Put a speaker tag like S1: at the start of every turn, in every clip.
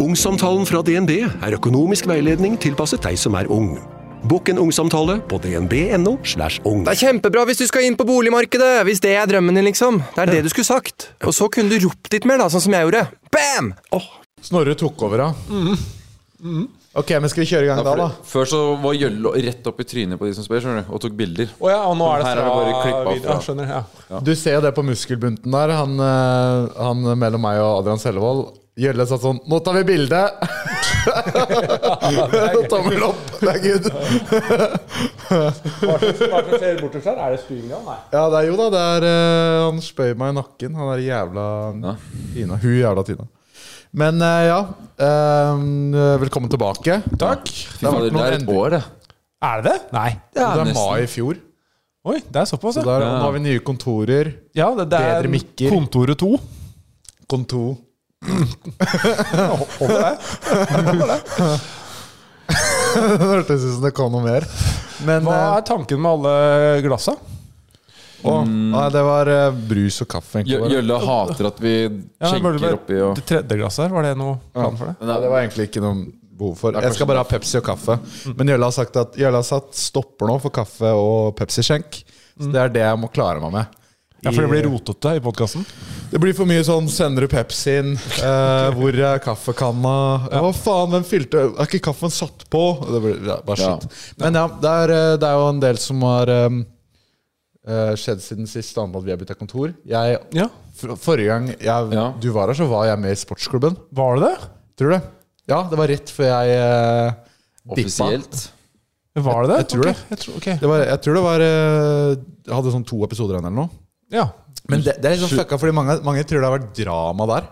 S1: Ungsamtalen fra DNB er økonomisk veiledning tilpasset deg som er ung. Bokk en ungsamtale på dnb.no. slash ung.
S2: Det er kjempebra hvis du skal inn på boligmarkedet! Hvis det er drømmen din, liksom. Det er det du skulle sagt. Og så kunne du ropt litt mer, da, sånn som jeg gjorde. Bam!
S3: Snorre tok over, da. Ok, men skal vi kjøre i gang da, da?
S4: Før så var Jølle rett opp i trynet på de som spør, skjønner du, og tok bilder.
S5: Å ja, og nå er det
S4: Her er det bare klipp av
S5: video.
S4: fra.
S5: Ja, skjønner, ja.
S3: Du ser jo det på muskelbunten der. Han, eh, han mellom meg og Adrian Sellevold. Gjølle satt sånn Nå tar vi bilde! Tommel opp! Det er good.
S5: Hva er det som skjer bortenfor her? Er det stuinga? Nei.
S3: Ja, det er jo da. Det er, eh, han spøyer meg i nakken. Han er jævla Tina. Hun jævla Tina. Men eh, ja, eh, velkommen tilbake. Takk.
S4: Fy fader, det er et år, det.
S5: Er det det? Nei.
S3: Det er
S4: nesten.
S3: mai i fjor.
S5: Oi, det er såpass,
S3: Så
S5: ja.
S3: der, Nå har vi nye kontorer.
S5: ja det, det er
S3: Bedre mikker.
S5: Kontoret 2.
S3: Kontor. det hørtes ut som det kom noe mer. Men
S5: Hva
S3: eh,
S5: er tanken med alle glassa?
S3: å, nei, det var eh, brus og kaffe.
S4: Jø-
S3: egentlig bare.
S4: Jølle hater at vi
S5: Ja, burde det
S4: skjenker
S5: være-
S4: oppi og
S5: Det tredje glasset her, var det noe plan for det?
S3: Nei, det var egentlig ikke noe behov for. Jeg skal bare ha Pepsi og kaffe.
S5: Mm.
S3: Men Jølle har sagt at Jølle har satt stopper nå for kaffe og Pepsi-skjenk.
S5: Mm.
S3: Så det er det jeg må klare meg med.
S5: Ja, For det blir rotete i podkasten.
S3: Det blir for mye sånn 'sender du Pepsien', eh, 'hvor er kaffekanna'? Ja. Hva faen, hvem fylte Er ikke kaffen satt på? Det blir ja, bare
S4: Ja.
S3: shit. Men ja, det er, eh, det er jo en del som har eh, eh, skjedd siden sist, annet enn at vi har bytta kontor. Jeg,
S5: Ja.
S3: for, forrige gang jeg,
S4: Ja.
S3: du var her, så var jeg med i sportsklubben.
S5: Var det det?
S3: Tror du det? Ja, det var rett før jeg eh, dippa.
S4: offisielt.
S5: Var det det?
S3: Jeg tror det.
S5: Ok, Jeg tror, ok.
S3: Det var, jeg tror det var eh, Jeg hadde sånn to episoder igjen eller noe.
S5: Ja.
S3: Men det, det er liksom fucka, fordi mange, mange tror det har vært drama der.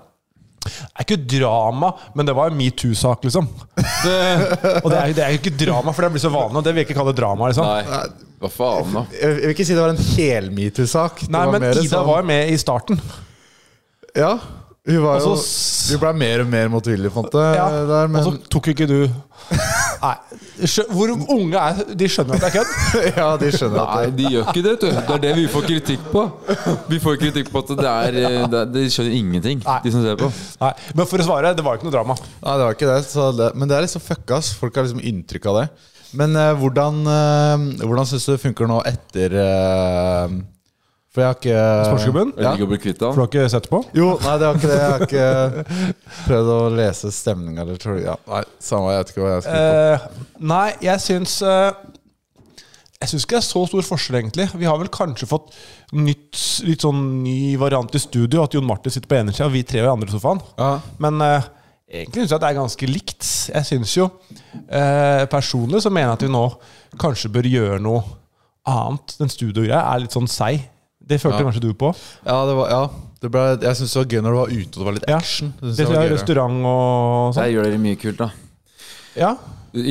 S5: Det er ikke drama, men det var en metoo-sak, liksom. Det, og det er, det er jo ikke drama, for det blir så vanlig, og det vil jeg ikke kalle drama. liksom.
S4: Nei, hva faen, da?
S3: Jeg jeg vil ikke si det var en hel metoo-sak. Det
S5: Nei, men
S3: mer
S5: Ida
S3: sånn-
S5: var med i starten.
S3: Ja, hun var
S5: Og
S3: jo
S5: så-
S3: Hun ble mer og mer motvillig, fant jeg.
S5: Altså Ja, Altså
S3: Der, men,
S5: Og så tok ikke du Nei, skjø, Hvor unge er De skjønner at det er kødd?
S3: ja, de skjønner at
S4: Nei,
S3: det,
S4: de gjør ikke det, vet du. Det er det vi får kritikk på. Vi får kritikk på at det er eh, det, De skjønner ingenting,
S5: Nei.
S4: de som ser på.
S5: Nei, Men for å svare, det var jo ikke noe drama.
S3: Nei, det var ikke det, så det. Men det er liksom fucka. ass. Folk har liksom inntrykk av det. Men eh, hvordan, eh, hvordan syns du det funker nå etter eh, For jeg har ikke
S5: Sportsklubben?
S4: Jeg
S3: Ja.
S4: liker å bli kvitt
S5: For
S4: han.
S5: du har ikke sett på?
S3: Jo, nei, det var ikke det. Jeg har ikke prøvd å lese stemninga eller tror du ja, Nei, samme, jeg vet ikke hva jeg skal
S5: Eh, nei, jeg syns eh, Jeg syns ikke det er så stor forskjell, egentlig. Vi har vel kanskje fått nytt, litt sånn ny variant i studio, at Jon Martin sitter på ene sida og vi tre i andre sofaen.
S3: Ja.
S5: Men eh, egentlig syns jeg at det er ganske likt. Jeg syns jo eh, Personlig så mener jeg at vi nå kanskje bør gjøre noe annet. Den studiogreia er litt sånn seig. Det følte kanskje du på?
S3: Ja, det var, ja det ble, jeg syns det var gøy når du var ute og det var litt
S5: Ja.
S3: action. Det synes
S5: Det
S3: jeg var
S5: tror jeg er
S3: gøyere.
S5: restaurant og sånn.
S4: Der gjør dere mye kult, da.
S5: Ja.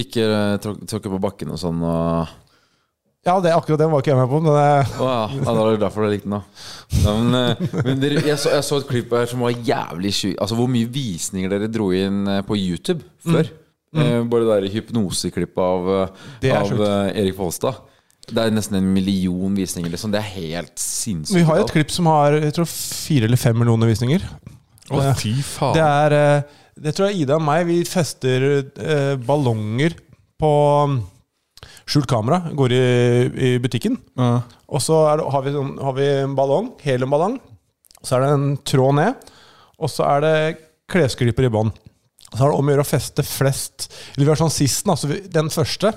S4: Ikke eh, tråk- tråkke på bakken og sånn. Og...
S5: ja, det akkurat den var ikke jeg med på. Men eh, det,
S4: Å ja, ja, da var det derfor du likte den, da. Ja, men eh, men dere, jeg, så, jeg så et klipp her som var jævlig sjukt. Altså, hvor mye visninger dere dro inn eh, på YouTube før. Eh, Bare det der hypnoseklippet av,
S5: Mm. Det
S4: eh,
S5: er
S4: av
S5: sjukt.
S4: eh, Erik Folstad. Det er nesten en million visninger. Liksom. Det er helt sinnssykt.
S5: vi har jo et
S4: tall.
S5: klipp som har jeg tror, fire eller fem millioner visninger.
S3: Å, fy faen.
S5: Det er eh, Det tror jeg Ida og meg, vi fester eh, ballonger på mm, skjult kamera. Går i, i butikken.
S3: Ja.
S5: Og så er det, har, vi, sånn- har vi en ballong, heliumballong. Så er det en tråd ned. Og så er det klesklyper i bånn. Så er det om å gjøre å feste flest Eller vi har sånn sisten, altså vi- den første.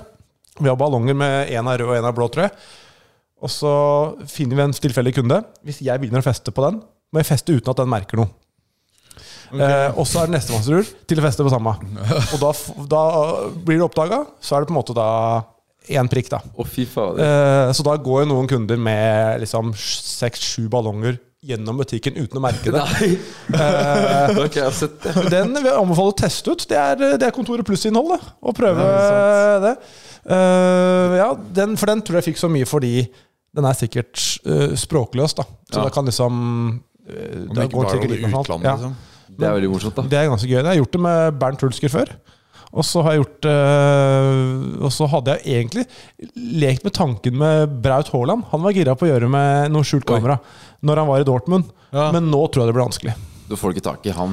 S5: Vi har ballonger med én er rød og én er blå, tror jeg. Og så finner vi en tilfeldig kunde. Hvis jeg begynner å feste på den, må jeg feste uten at den merker noe. Eh, og så er det nestemanns tur til å feste på samme. Og da, f- da blir det oppdaga, så er det på en måte da én prikk, da.
S4: Å, fy fader.
S5: Eh, så da går jo noen kunder med liksom seks-sju ballonger gjennom butikken uten å merke det. Eh,
S4: Nei, det har ikke jeg sett. det.
S5: Den vil jeg anbefale å teste ut. Det er, det er Kontoret Pluss-innhold, det. Å prøve det. Eh, ja, den, for den tror jeg fikk så mye fordi den er sikkert eh, språkløs, da. Så
S4: Ja.
S5: da kan liksom uh,
S3: Om ikke bare over utlandet, liksom.
S4: Det er veldig morsomt, da.
S5: Det er ganske gøy. Jeg har gjort det med Bernt Hulsker før. Og så har jeg gjort eh, Og så hadde jeg egentlig lekt med tanken med Braut Haaland. Han var gira på å gjøre med noe skjult kamera når han var i Dortmund.
S3: Ja.
S5: Men nå tror jeg det blir vanskelig.
S4: Du får ikke tak i han.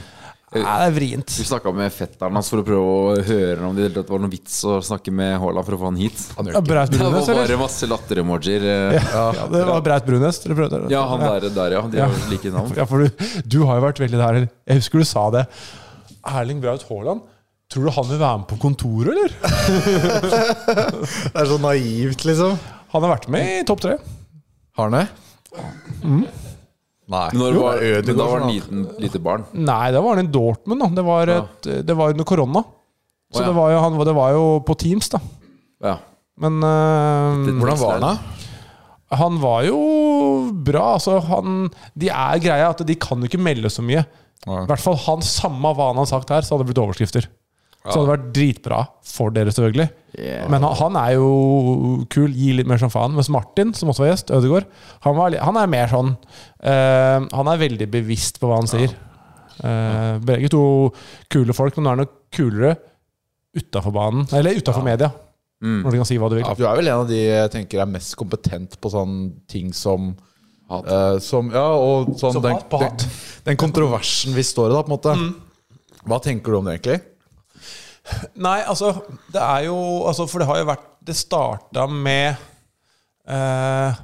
S5: Nei, det er vrient.
S4: Vi snakka med fetteren hans for å prøve å høre om det i det hele tatt var noen vits å snakke med Haaland for å få han hit.
S5: Ja, Braut
S4: Det var
S5: Brunes, eller?
S4: bare masse latter-emojier. eh.
S5: Ja, det var Braut Brunes dere prøvde?
S4: Ja, han der, der ja. De har jo like navn.
S5: Ja, for du, du har jo vært veldig der. eller? Jeg husker du sa det. Erling Braut Haaland, tror du han vil være med på kontoret, eller?
S3: Det er så naivt, liksom.
S5: Han har vært med i topp tre.
S3: Har han det? Mm. Nei.
S4: Men Når
S3: Jo,
S4: var,
S3: det er Ødegaard
S4: men da var
S3: for
S4: han
S3: noe.
S4: liten, lite barn.
S5: Nei, da var han i Dortmund, da. Det var, et, det var under korona. Så
S4: Å, ja.
S5: det, var jo, han, det var jo på Teams, da.
S4: Ja.
S5: Men eh,
S3: Mm. Hvordan var han da?
S5: han var jo bra. Altså, han, de er greia at de kan jo ikke melde så mye.
S3: Nei.
S5: I hvert fall han samme hva han har sagt her, så hadde det blitt overskrifter. Så hadde det vært dritbra for dere, selvfølgelig.
S4: Yeah.
S5: Men han, han er jo kul, gir litt mer som faen. Mens Martin, som også var gjest, Ødegaard, han, var, li- han er mer sånn eh, Han er veldig bevisst på hva han sier. Eh, begge to kule folk, men nå er han nok kulere utafor banen. Eller utafor media, når du kan si hva du vil.
S3: Ja, for du er vel en av de jeg tenker er mest kompetent på sånne ting som eh, som, ja, og sånn
S5: Som
S3: den,
S5: hat på hat. Mm.
S3: Den, den kontroversen vi står i, da, på en måte. Hva tenker du om det, egentlig?
S5: Nei, altså Det er jo altså, For det har jo vært Det starta med eh,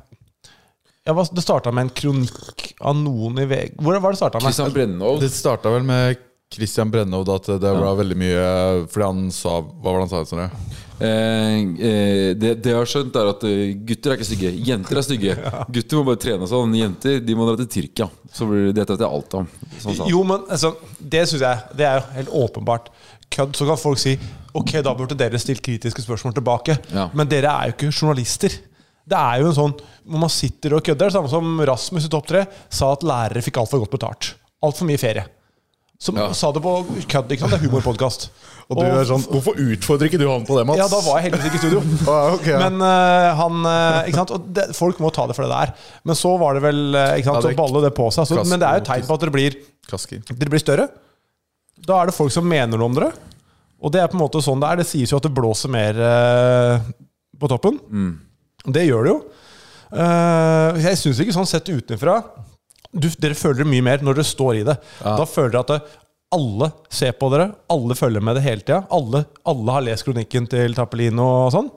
S5: ja, hva- Det starta med en kronikk av noen i VG Hvor var det det starta med?
S4: Christian Brennov.
S3: Det starta vel med Christian Brennov, da, at det var veldig mye Fordi han sa Hva var det han sa? Sånn,
S4: Eh, eh, det, det jeg har skjønt, er at eh, gutter er ikke stygge. Jenter er stygge. Gutter må bare trene sånn. Jenter de må dra til Tyrkia. Så blir det dette vet jeg alt om. Sånn, sånn.
S5: Jo, men altså, det syns jeg Det er jo helt åpenbart kødd. Så kan folk si Ok, da burde dere stilt kritiske spørsmål tilbake.
S4: Ja.
S5: Men dere er jo ikke journalister. Det er jo en sånn hvor man sitter og kødder. Samme som Rasmus i Topp 3 sa at lærere fikk altfor godt betalt. Altfor mye ferie. Som
S4: Ja.
S5: sa det på kødd. ikke sant? Det er humorpodkast.
S3: Og du er sånn Hvorfor utfordrer ikke du han på det, Mats?
S5: Ja, da var jeg heldigvis ikke i studio.
S3: Ah, ok, ja.
S5: Men eh, han eh, Ikke sant? Og det, folk må ta det for det der. Men så var det vel eh, ikke
S3: Ja,
S5: sant?
S3: det
S5: Så
S3: er
S5: baller det på seg. Så, men det er jo et tegn på at dere blir
S3: Kaski.
S5: dere blir større. Da er det folk som mener noe om dere. Og det er på en måte sånn det er. Det sies jo at det blåser mer eh, på toppen. Det gjør det jo. Eh, jeg syns ikke sånn sett utenfra du, Dere føler det mye mer når dere står i det. Da føler dere at det, alle ser på dere, alle følger med det hele tida. Alle, alle har lest kronikken til Tappelino og sånn.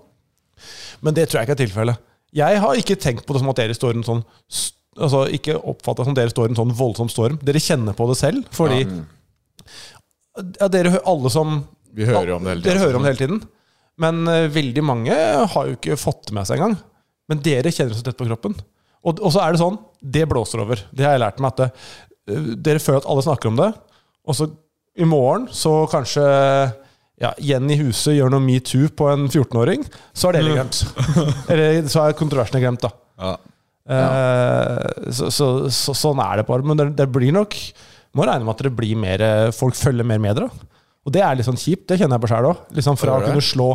S5: Men det tror jeg ikke er tilfellet. Jeg har ikke tenkt på det som at dere står i en sånn s- Altså ikke oppfatta som dere står i en sånn voldsom storm. Dere kjenner på det selv, fordi ja, dere hø- alle som
S3: Vi hører om det hele tiden.
S5: Dere hører om det hele tiden. Men eh, veldig mange har jo ikke fått det med seg engang. Men dere kjenner det så tett på kroppen. Og, og så er det sånn Det blåser over. Det har jeg lært meg. At det, eh, dere føler at alle snakker om det. Og så i morgen så kanskje ja, Jenny Huse gjør noe metoo på en 14-åring. Så er det glemt.
S3: Mm.
S5: Eller så er kontroversene glemt, da.
S3: Ja.
S5: Eh, så, så, så, sånn er det bare. Men det, det blir nok Må regne med at det blir mer eh, folk følger mer med dere. Og det er litt sånn kjipt. Det kjenner jeg på sjæl òg. Liksom fra å
S3: Gjør det?
S5: kunne slå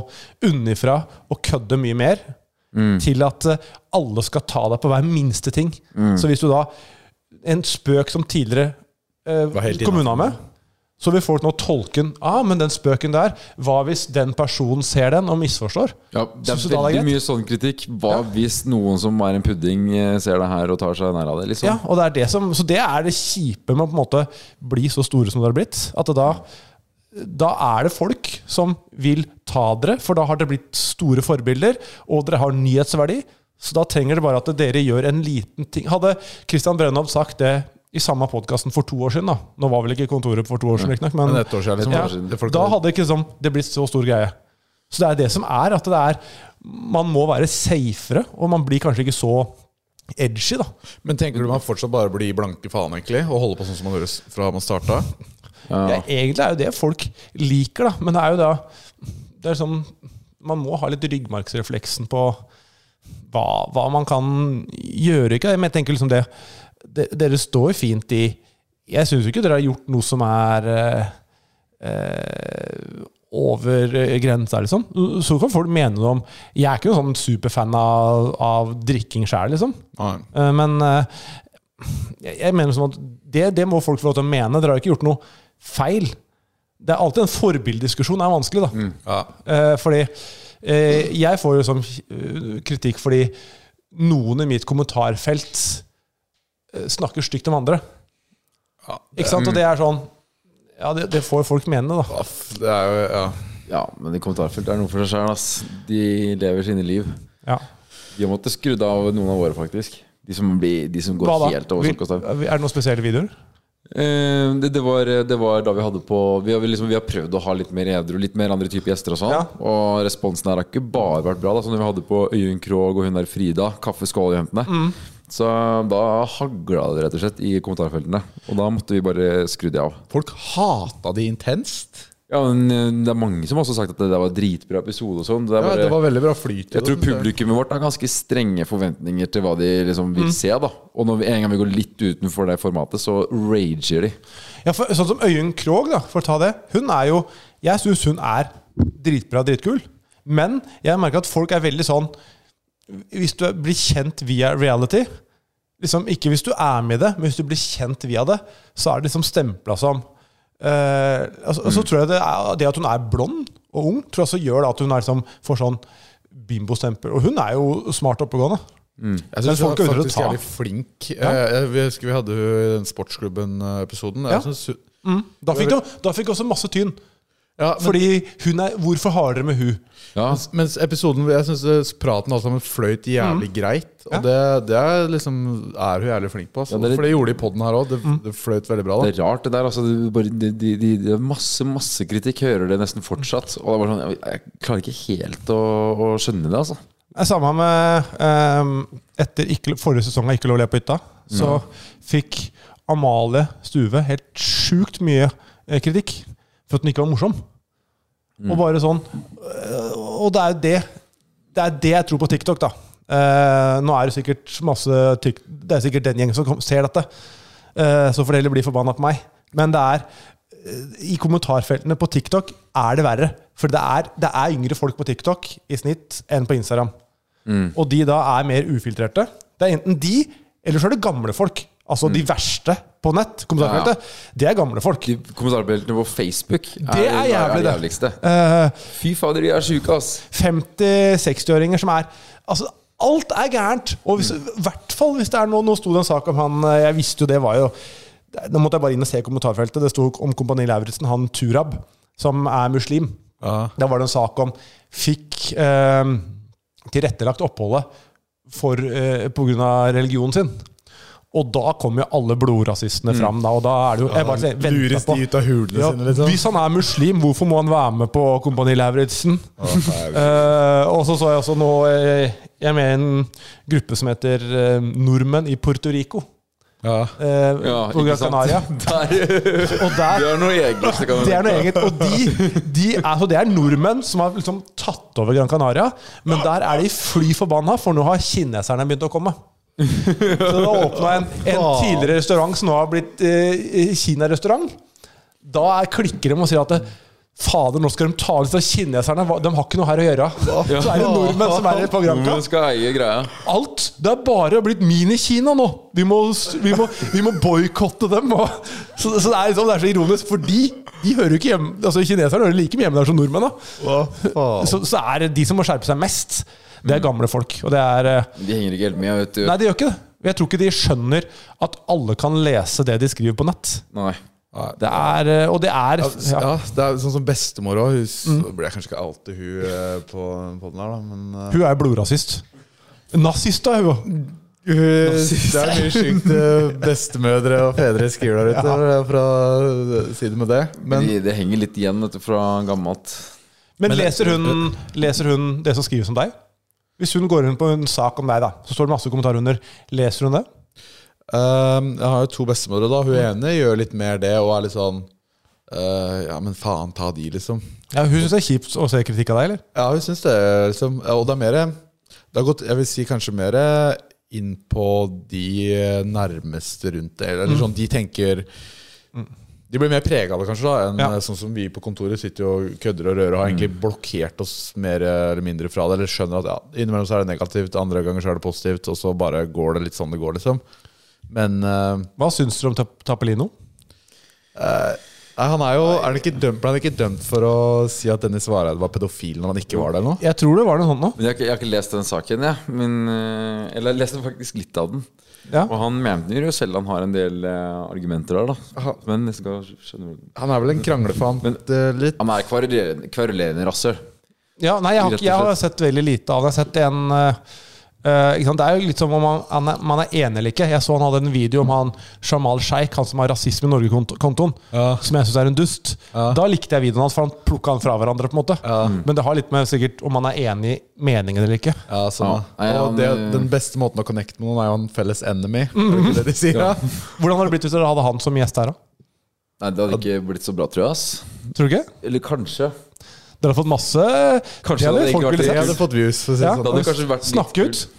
S5: unnifra og kødde mye mer,
S3: Mm.
S5: til at eh, alle skal ta deg på hver minste ting.
S3: Mm.
S5: Så hvis du da En spøk som tidligere
S3: Var
S5: eh,
S3: helt
S5: kommunen har med, så vil folk nå tolke den. Ah, men den spøken der, hva hvis den personen ser den og misforstår?
S4: Ja, det er
S5: Synes du da det er
S4: veldig
S5: greit?
S4: mye sånn kritikk. Hva hvis noen som er en pudding, eh, ser det her og tar seg nær av det? liksom
S5: Ja, og det er det som, så det er det kjipe med å på en måte bli så store som dere har blitt. At det da, da er det folk som vil ta dere, for da har dere blitt store forbilder, og dere har nyhetsverdi. Så da trenger det bare at dere gjør en liten ting. Hadde Christian Brennhoff sagt det i samme podkasten for to år siden, da Nå var vel ikke kontoret for to år siden, riktignok, men
S3: Men et år siden,
S4: Ja.
S3: litt år siden. Det folk-
S5: da hadde ikke sånn, det blitt så stor greie. Så det er det som er, at det er Man må være safere, og man blir kanskje ikke så edgy, da.
S3: Men tenker du man fortsatt bare blir blanke faen, egentlig? Og holder på sånn som man gjorde s- fra man starta?
S5: Ja. egentlig er jo det folk liker, da. Men det er jo da det er sånn, Man må ha litt ryggmargsrefleksen på hva, hva man kan gjøre. Ikke? Men jeg tenker liksom det, det Dere står fint i Jeg syns jo ikke dere har gjort noe som er eh, eh, over eh, grensa, liksom. Så kan folk mene noe om Jeg er ikke noen sånn superfan av, av drikking sjæl, liksom.
S3: Nei.
S5: Eh, Men eh, jeg jeg mener sånn at det, det må folk få lov til å mene. Dere har ikke gjort noe feil. Det er alltid en forbildediskusjon. Det er vanskelig, da.
S3: Ja.
S5: Eh, fordi eh, jeg får jo sånn eh, kritikk fordi noen i mitt kommentarfelt eh, snakker stygt om andre.
S3: Ja, mm.
S5: Ikke sant? Og det er sånn Ja, det, det får folk mene, da.
S3: Aff, det er jo ja.
S4: Ja, men i kommentarfelt er det noe for seg sjøl, ass. De lever sine liv.
S5: Ja.
S4: Vi har måttet skrudd av noen av våre, faktisk. De som, blir, de som går
S5: Hva da?
S4: helt over
S5: Vil-
S4: sokkestang.
S5: Er det noen spesielle videoer?
S4: Eh, det, det, var, det var da vi hadde på Vi har, liksom, vi har prøvd å ha litt mer edru, litt mer andre typer gjester og sånn.
S5: Ja.
S4: Og responsen her har ikke bare vært bra. Da, som vi hadde på Øyunn Krogh og hun der Frida. Kaffeskåljentene. Så da hagla det rett og slett i kommentarfeltene. Og da måtte vi bare skru de av.
S3: Folk hata de intenst.
S4: Ja, men eh, det er mange som også har sagt at det der var dritbra episode og sånn. Det er
S3: Ja,
S4: bare-
S3: det var veldig bra flyt. i
S4: Jeg
S3: det,
S4: tror
S3: synes jeg.
S4: publikummet vårt har ganske strenge forventninger til hva de liksom vil se. da Og når vi, en gang vi går litt utenfor det formatet, så rager de.
S5: Ja, for, sånn som Øyunn Krogh, da, for å ta det. Hun er jo Jeg syns hun er dritbra, dritkul. Men jeg merker at folk er veldig sånn Hvis du blir kjent via reality liksom, Ikke hvis du er med i det, men hvis du blir kjent via det, så er det liksom stempla som eh, altså,
S3: Mm.
S5: Så tror jeg det, er, det at hun er blond og ung, tror jeg også gjør da at hun er liksom, får sånn bimbostempel. Og hun er jo smart og oppegående.
S3: Jeg syns
S5: Men
S3: hun
S5: folk
S3: er
S5: er ute
S3: faktisk
S5: å ta.
S3: jævlig flink. Eh, Jeg, jeg husker vi hadde jo i den sportsklubben-episoden. Jeg
S5: Ja.
S3: synes hun-
S5: Da fikk, de, da fikk også masse tyn.
S3: Ja, men,
S5: Fordi hun er Hvorfor har dere med hun?
S4: Ja,
S3: mens episoden Jeg syns praten alle sammen fløyt jævlig
S5: Mm.
S3: greit. Og det, det er liksom er hun jævlig flink på. Altså.
S4: Ja, det er litt-
S3: For det gjorde de i poden her òg. Det, det fløyt veldig bra.
S4: Det
S3: da
S4: er rart, det der. Altså, det, er bare, de, de, de, det er masse masse kritikk, hører det nesten fortsatt. Og det er bare sånn, jeg, jeg klarer ikke helt å, å skjønne det, altså.
S5: Det er samme med ehm, Etter ikke, forrige sesong av Ikke lov å le på hytta, så fikk Amalie Stuve helt sjukt mye eh, kritikk for at hun ikke var morsom. Og bare sånn øh, Og det er jo det Det er det jeg tror på TikTok, da. Eh, nå er det sikkert masse tyk, Det er sikkert den gjengen som kom, ser dette. Eh, så får det heller bli forbanna på meg. Men det er eh, i kommentarfeltene på TikTok er det verre. For det er, det er yngre folk på TikTok i snitt enn på Instagram. Og de da er mer ufiltrerte. Det er enten de, eller så er det gamle folk. Altså de verste på nett. Kommentarfeltet. Det er gamle folk.
S4: De kommentarfeltene på Facebook er
S5: Det er jævlig,
S4: det
S5: det.
S4: jævligste.
S5: Eh,
S4: Fy fader, de er sjuke, ass.
S5: 50-60-åringer som er Altså, alt er gærent! Og hvis, i hvert fall hvis det er noe Nå sto det en sak om han eh, Jeg visste jo det var jo Nå måtte jeg bare inn og se kommentarfeltet. Det sto om Kompani Lauritzen, han Turab, som er muslim. Da var det en sak om Fikk eh, tilrettelagt oppholdet for, eh, på grunn av religionen sin. Og da kom jo alle blodrasistene fram. Da, og da er det jo, jeg bare venter
S3: Mm. lures de
S5: på-
S3: ut av hulene sine, liksom.
S5: Hvis han er muslim, hvorfor må han være med på Kompani Lauritzen? Eh, og så så jeg også nå eh, Jeg er med i en gruppe som heter eh, Nordmenn i Puerto Rico.
S3: Ja.
S5: eh,
S4: Ja,
S5: på Gran Canaria.
S4: Der,
S5: Og
S4: det
S5: der
S4: er noe eget. det kan man
S5: det er noe
S4: ta.
S5: eget. Og de, de er, så det er nordmenn som har liksom tatt over Gran Canaria, men der er de fly forbanna, for nå har kineserne begynt å komme. Så da åpna en, en tidligere restaurant som nå har blitt eh, Kina-restaurant. Da er klikker de og sier at det, Fader, nå skal de ta ut av kineserne. hva- De har ikke noe her å gjøre. Så er det nordmenn som er på Granca.
S4: Nordmenn skal eie greia.
S5: Alt! Det er bare blitt mini-Kina nå! Vi må, vi må, vi må boikotte dem. Og, så, så det, er liksom, det er så ironisk, for de, de hører jo ikke hjemme Altså Kineserne hører like mye hjemme der som nordmenn. da
S3: Hva faen?
S5: Så, så er det de som må skjerpe seg mest, det er gamle folk. Og det er eh,
S4: De henger ikke helt med, vet du.
S5: Nei, de gjør ikke det. Jeg tror ikke de skjønner at alle kan lese det de skriver på nett.
S4: Nei.
S5: Det er, eh, og det er
S3: Ja.
S5: ja.
S3: det er sånn som bestemor òg. Hun s- ble kanskje ikke alltid hun eh, på, på den her, da, men eh,
S5: Hun er blodrasist. Nazist, da, hun.
S3: Hun- Det er mye sjukt eh, bestemødre og fedre skriver der ute, for å eh, si det med det. Men
S4: De, det henger litt igjen vet du, fra gammelt.
S5: Men leser hun, leser hun det som skrives om deg? Hvis hun går inn på en sak om deg, da, så står det masse kommentarer under. Leser hun det?
S3: ehm, jeg har jo to bestemødre, da. Hun ene gjør litt mer det og er litt sånn eh, Ja, men faen, ta de, liksom.
S5: Ja, Hun syns det er kjipt å se kritikk av deg, eller?
S3: Ja, hun syns det, liksom. Ja, Og det er mer Det har gått, jeg vil si, kanskje mer inn på de nærmeste rundt det. Eller sånn de tenker De blir mer prega av det, kanskje, da enn
S5: Ja.
S3: eh, sånn som vi på kontoret sitter jo og kødder og rører og har egentlig blokkert oss mer eller mindre fra det. Eller skjønner at ja, innimellom så er det negativt, andre ganger så er det positivt, og så bare går det litt sånn det går, liksom. Men eh,
S5: Hva syns dere om Tap- Tappelino?
S3: nei, han er jo er han ikke dømt, Ble han ikke dømt for å si at Dennis Vareide var pedofil når han ikke var det, eller noe?
S5: Jeg tror det var noe sånt nå.
S4: Men jeg har, ikke, jeg har ikke lest den saken, jeg. Men, eh, eller jeg leste faktisk litt av den.
S5: Ja.
S4: Og han mener jo selv han har en del eh, argumenter der, da.
S3: Aha.
S4: Men jeg skal skjønne
S3: Han er vel en kranglefant
S4: Men-
S3: eh, litt.
S4: Han er kverulerende, kverulerende rasshøl.
S5: Ja, nei, jeg har,
S4: Rett og
S5: ikke, jeg har sett veldig lite av det. Jeg har sett en eh, eh, ikke sant? Det er jo litt som om man, han er, man er enig eller ikke. Jeg så han hadde en video om han Jamal Sheikh, han som har rasisme i Norge-kontoen,
S3: Ja.
S5: som jeg syns er en dust. Da likte jeg videoen hans, for han plukka han fra hverandre. på en måte Men det har litt med sikkert om man er enig i meningen eller ikke.
S3: Ja, sånn.
S4: Ja. Nei,
S3: Og det,
S4: han, eh,
S3: den beste måten å connecte med noen er jo en felles enemy. Er det ikke det de sier? da?
S5: Hvordan hadde det blitt hvis dere hadde han som gjest her, da?
S4: Nei, det hadde ikke blitt så bra, tror jeg. ass
S5: Tror du ikke?
S4: Eller kanskje.
S5: Dere har fått masse
S4: Kanskje
S5: hadde
S4: det hadde ikke
S5: folk
S4: vært
S5: ville
S3: Jeg
S4: det.
S5: sett.
S3: hadde fått views. For å si det
S5: Ja.
S3: sånn.
S4: Det hadde kanskje vært litt
S5: Snakke ut.
S4: kult.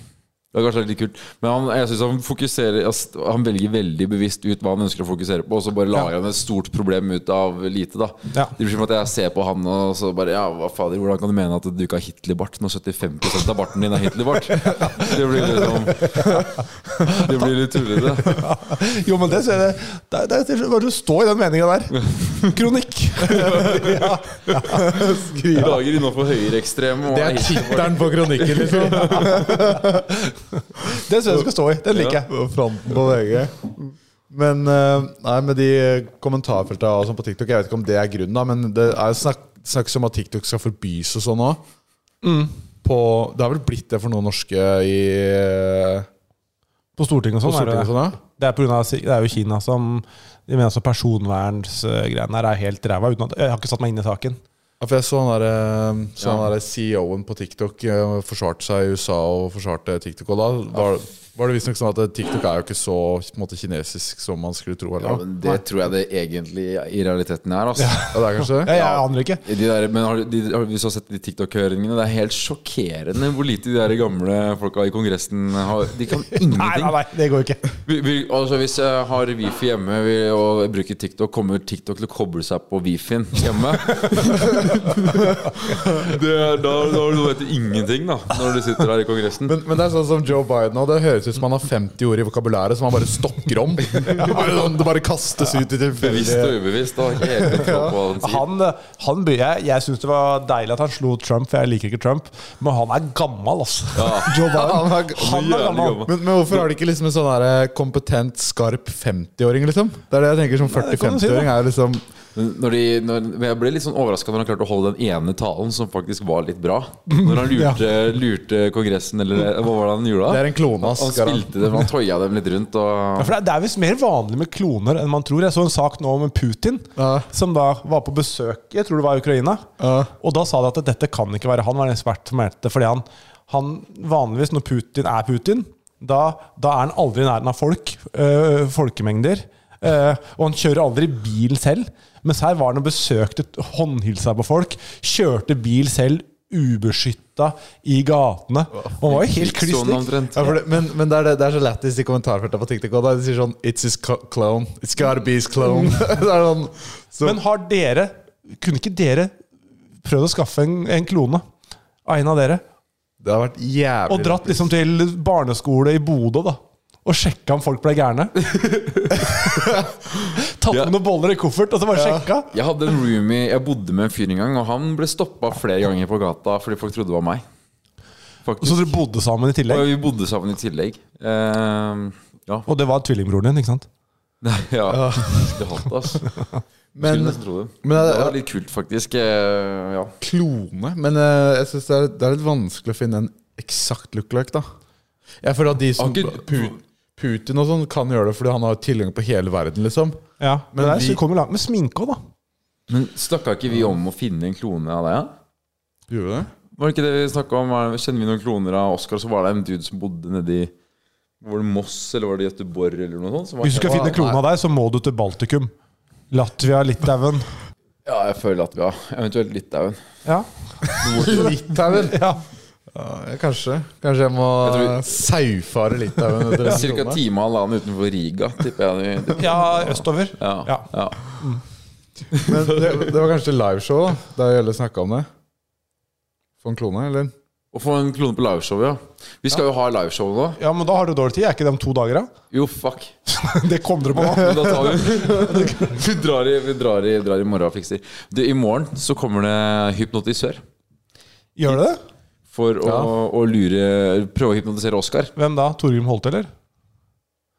S4: Det hadde kanskje vært litt kult Men han, jeg synes han fokuserer ass, Han velger veldig bevisst ut hva han ønsker å fokusere på, og så bare lager han et stort problem ut av lite. da
S5: Ja.
S4: Det blir som at jeg ser på han og så bare Ja, hva fader, hvordan kan du mene at du ikke har Hitlerbart når 75 av barten din er Hitlerbart? Det blir liksom Det blir litt tullete.
S5: Jo, men det ser jeg det, det, det, det, Du står i den meninga der. Kronikk. ja.
S4: Lager innafor høyreekstrem og
S3: Det er tittelen på kronikken, liksom.
S5: Det syns jeg du skal stå i. Den liker jeg.
S3: På Fronten på VG. Men eh, nei, med de kommentarfeltene og sånn på TikTok, jeg vet ikke om det er grunnen, da, men det er jo snakk, snakkes om at TikTok skal forbys og sånn òg. Mm. Det har vel blitt det for noen norske i eh,
S5: På Stortinget og
S3: på
S5: sånn. er det
S3: Stortinget og
S5: det.
S3: sånn, ja?
S5: Det er, på grunn av, det er jo Kina som De mener altså personvernsgreiene her er helt ræva. Uten at, jeg har ikke satt meg inn i saken.
S3: Ja, for jeg så han der, eh, så
S4: Ja.
S3: han der CEO-en på TikTok eh, forsvarte seg i USA og forsvarte TikTok. Og da var, var det visstnok sånn at eh, TikTok er jo ikke så på en måte, kinesisk som man skulle tro.
S4: Ja,
S3: Eller?
S4: men det tror jeg det egentlig i realiteten er. Altså.
S3: Ja, det er kanskje det?
S5: Jeg, jeg aner ikke.
S4: I De der, men har, du- de, har, Hvis du har sett de TikTok-høringene, det er helt sjokkerende hvor lite de der gamle folka i Kongressen har De kan
S5: Nei, nei,
S4: ingenting.
S5: nei, det går ikke.
S4: Vi, vi, altså Hvis jeg har wifi hjemme vi, og jeg bruker TikTok, kommer TikTok til å koble seg på wifien hjemme. det er, da, da vet du ingenting, da, når du sitter her i Kongressen.
S3: Men, men det er sånn som Joe Biden og Det høres ut som han har 50 ord i vokabulæret som han bare stokker om. Bare, sånn, det bare kastes ut i
S4: Bevisst
S3: tilfeldige
S4: og ubevisst. Da, har jeg ikke helt kontroll på hva han sier.
S5: Han, han, by- jeg jeg syns det var deilig at han slo Trump, for jeg liker ikke Trump. Men han er gammel, altså.
S3: Joe Biden. Han er,
S5: Han er gammel.
S3: men, men hvorfor har de ikke liksom en sånn der kompetent, skarp 50-åring, liksom? Det er det jeg tenker som
S5: det kan du si,
S3: 40-50-åring er liksom
S4: Men Når de, når, men jeg ble litt sånn overraska når han klarte å holde den ene talen som faktisk var litt bra. Når han lurte, lurte Kongressen, eller eh, hva var det han gjorde? da?
S3: Det er en klone, ass,
S4: Han
S3: Garan.
S4: spilte dem, han toya dem litt rundt.
S5: Ja,
S4: Og,
S5: for det er- Det er visst mer vanlig med kloner enn man tror. Jeg så en sak nå om Putin,
S3: Ja.
S5: som da var på besøk Jeg tror det var i Ukraina.
S3: Ja.
S5: Og da sa de at dette kan ikke være han, var en ekspert som meldte. Fordi han, han vanligvis, når Putin er Putin, da, da er han aldri i nærheten av folk. øh, folkemengder. øh, og han kjører aldri bil selv. Mens her var han og besøkte, håndhilsa på folk. Kjørte bil selv, ubeskytta, i gatene. Og han var jo helt kliss
S4: Sånn
S5: lik.
S4: omtrent.
S3: Ja, for det, men men det, er det, det er så lættis i kommentarfeltet på TikTok. Og da de sier sånn It's his co- clone. It's gotta be his clone. det er sånn, så,
S5: Men har dere Kunne ikke dere prøvd å skaffe en, en klone av en av dere?
S3: det har vært jævlig
S5: Og dratt liksom til barneskole i Bodø, da? Og sjekka om folk ble gærne? Tatt
S4: Ja.
S5: med noen boller i koffert og så bare sjekka?
S4: jeg hadde en roomie Jeg bodde med en fyr en gang, og han ble stoppa flere ganger på gata fordi folk trodde det var meg.
S5: Og så
S4: Faktisk.
S5: dere bodde sammen i
S4: Og
S5: tillegg?
S4: vi bodde sammen i tillegg. Eh, ja.
S5: Og det var tvillingbroren din, ikke sant?
S4: Nei, ja. Skulle hatt det, ass. Skulle
S3: Men,
S4: nesten tro det.
S3: men
S4: Det
S3: det
S4: var
S3: er
S4: litt kult, faktisk. eh, Ja.
S3: klone. Men eh, jeg synes det, er- det er litt vanskelig å finne en eksakt lookalike, da. Jeg føler at de som
S4: Har ikke-
S3: Pu- Putin og sånn kan gjøre det fordi han har tilgang på hele verden, liksom.
S5: Ja,
S3: Men
S5: Men der,
S3: vi-
S5: så kom jo langt med sminke òg, da.
S4: Men snakka ikke vi om å finne en klone av det? Ja?
S3: Gjorde du det?
S4: Var det ikke det vi snakket om? var- Kjenner vi noen kloner av Oscar? Så var det en dude som bodde nedi Var det Moss eller var det Göteborg eller noe sånt? Som var,
S5: Hvis du skal finne klona der, så må du til Baltikum. Latvia, Litauen
S4: Ja, jeg føler at vi har eventuelt Litauen.
S5: Ja.
S3: Litauen?
S5: ja.
S3: Ja, kanskje. Kanskje jeg må
S4: Jeg tror vi-
S3: eh, saufare Litauen. etter en
S4: Cirka
S3: krone.
S4: time og halvannen utenfor Riga, tipper jeg. det-
S5: ja, østover.
S4: Ja, ja.
S5: Ja.
S3: Men det, det var kanskje liveshow da, da Gjelle snakka om det? For en klone, eller?
S4: Å få en klone på liveshow, ja. Vi skal jo ha liveshow nå.
S5: Ja, men da har du dårlig tid. Er ikke det om to dager, da?
S4: Jo, fuck.
S5: Det kom dere på nå.
S4: Men Da tar vi Vi drar i, vi drar i, drar i morgen og fikser. Du, I morgen så kommer det hypnotisør
S5: Gjør det det?
S4: for å, å lure Prøve å hypnotisere Oscar.
S5: Hvem da? Torgrim Holte, eller?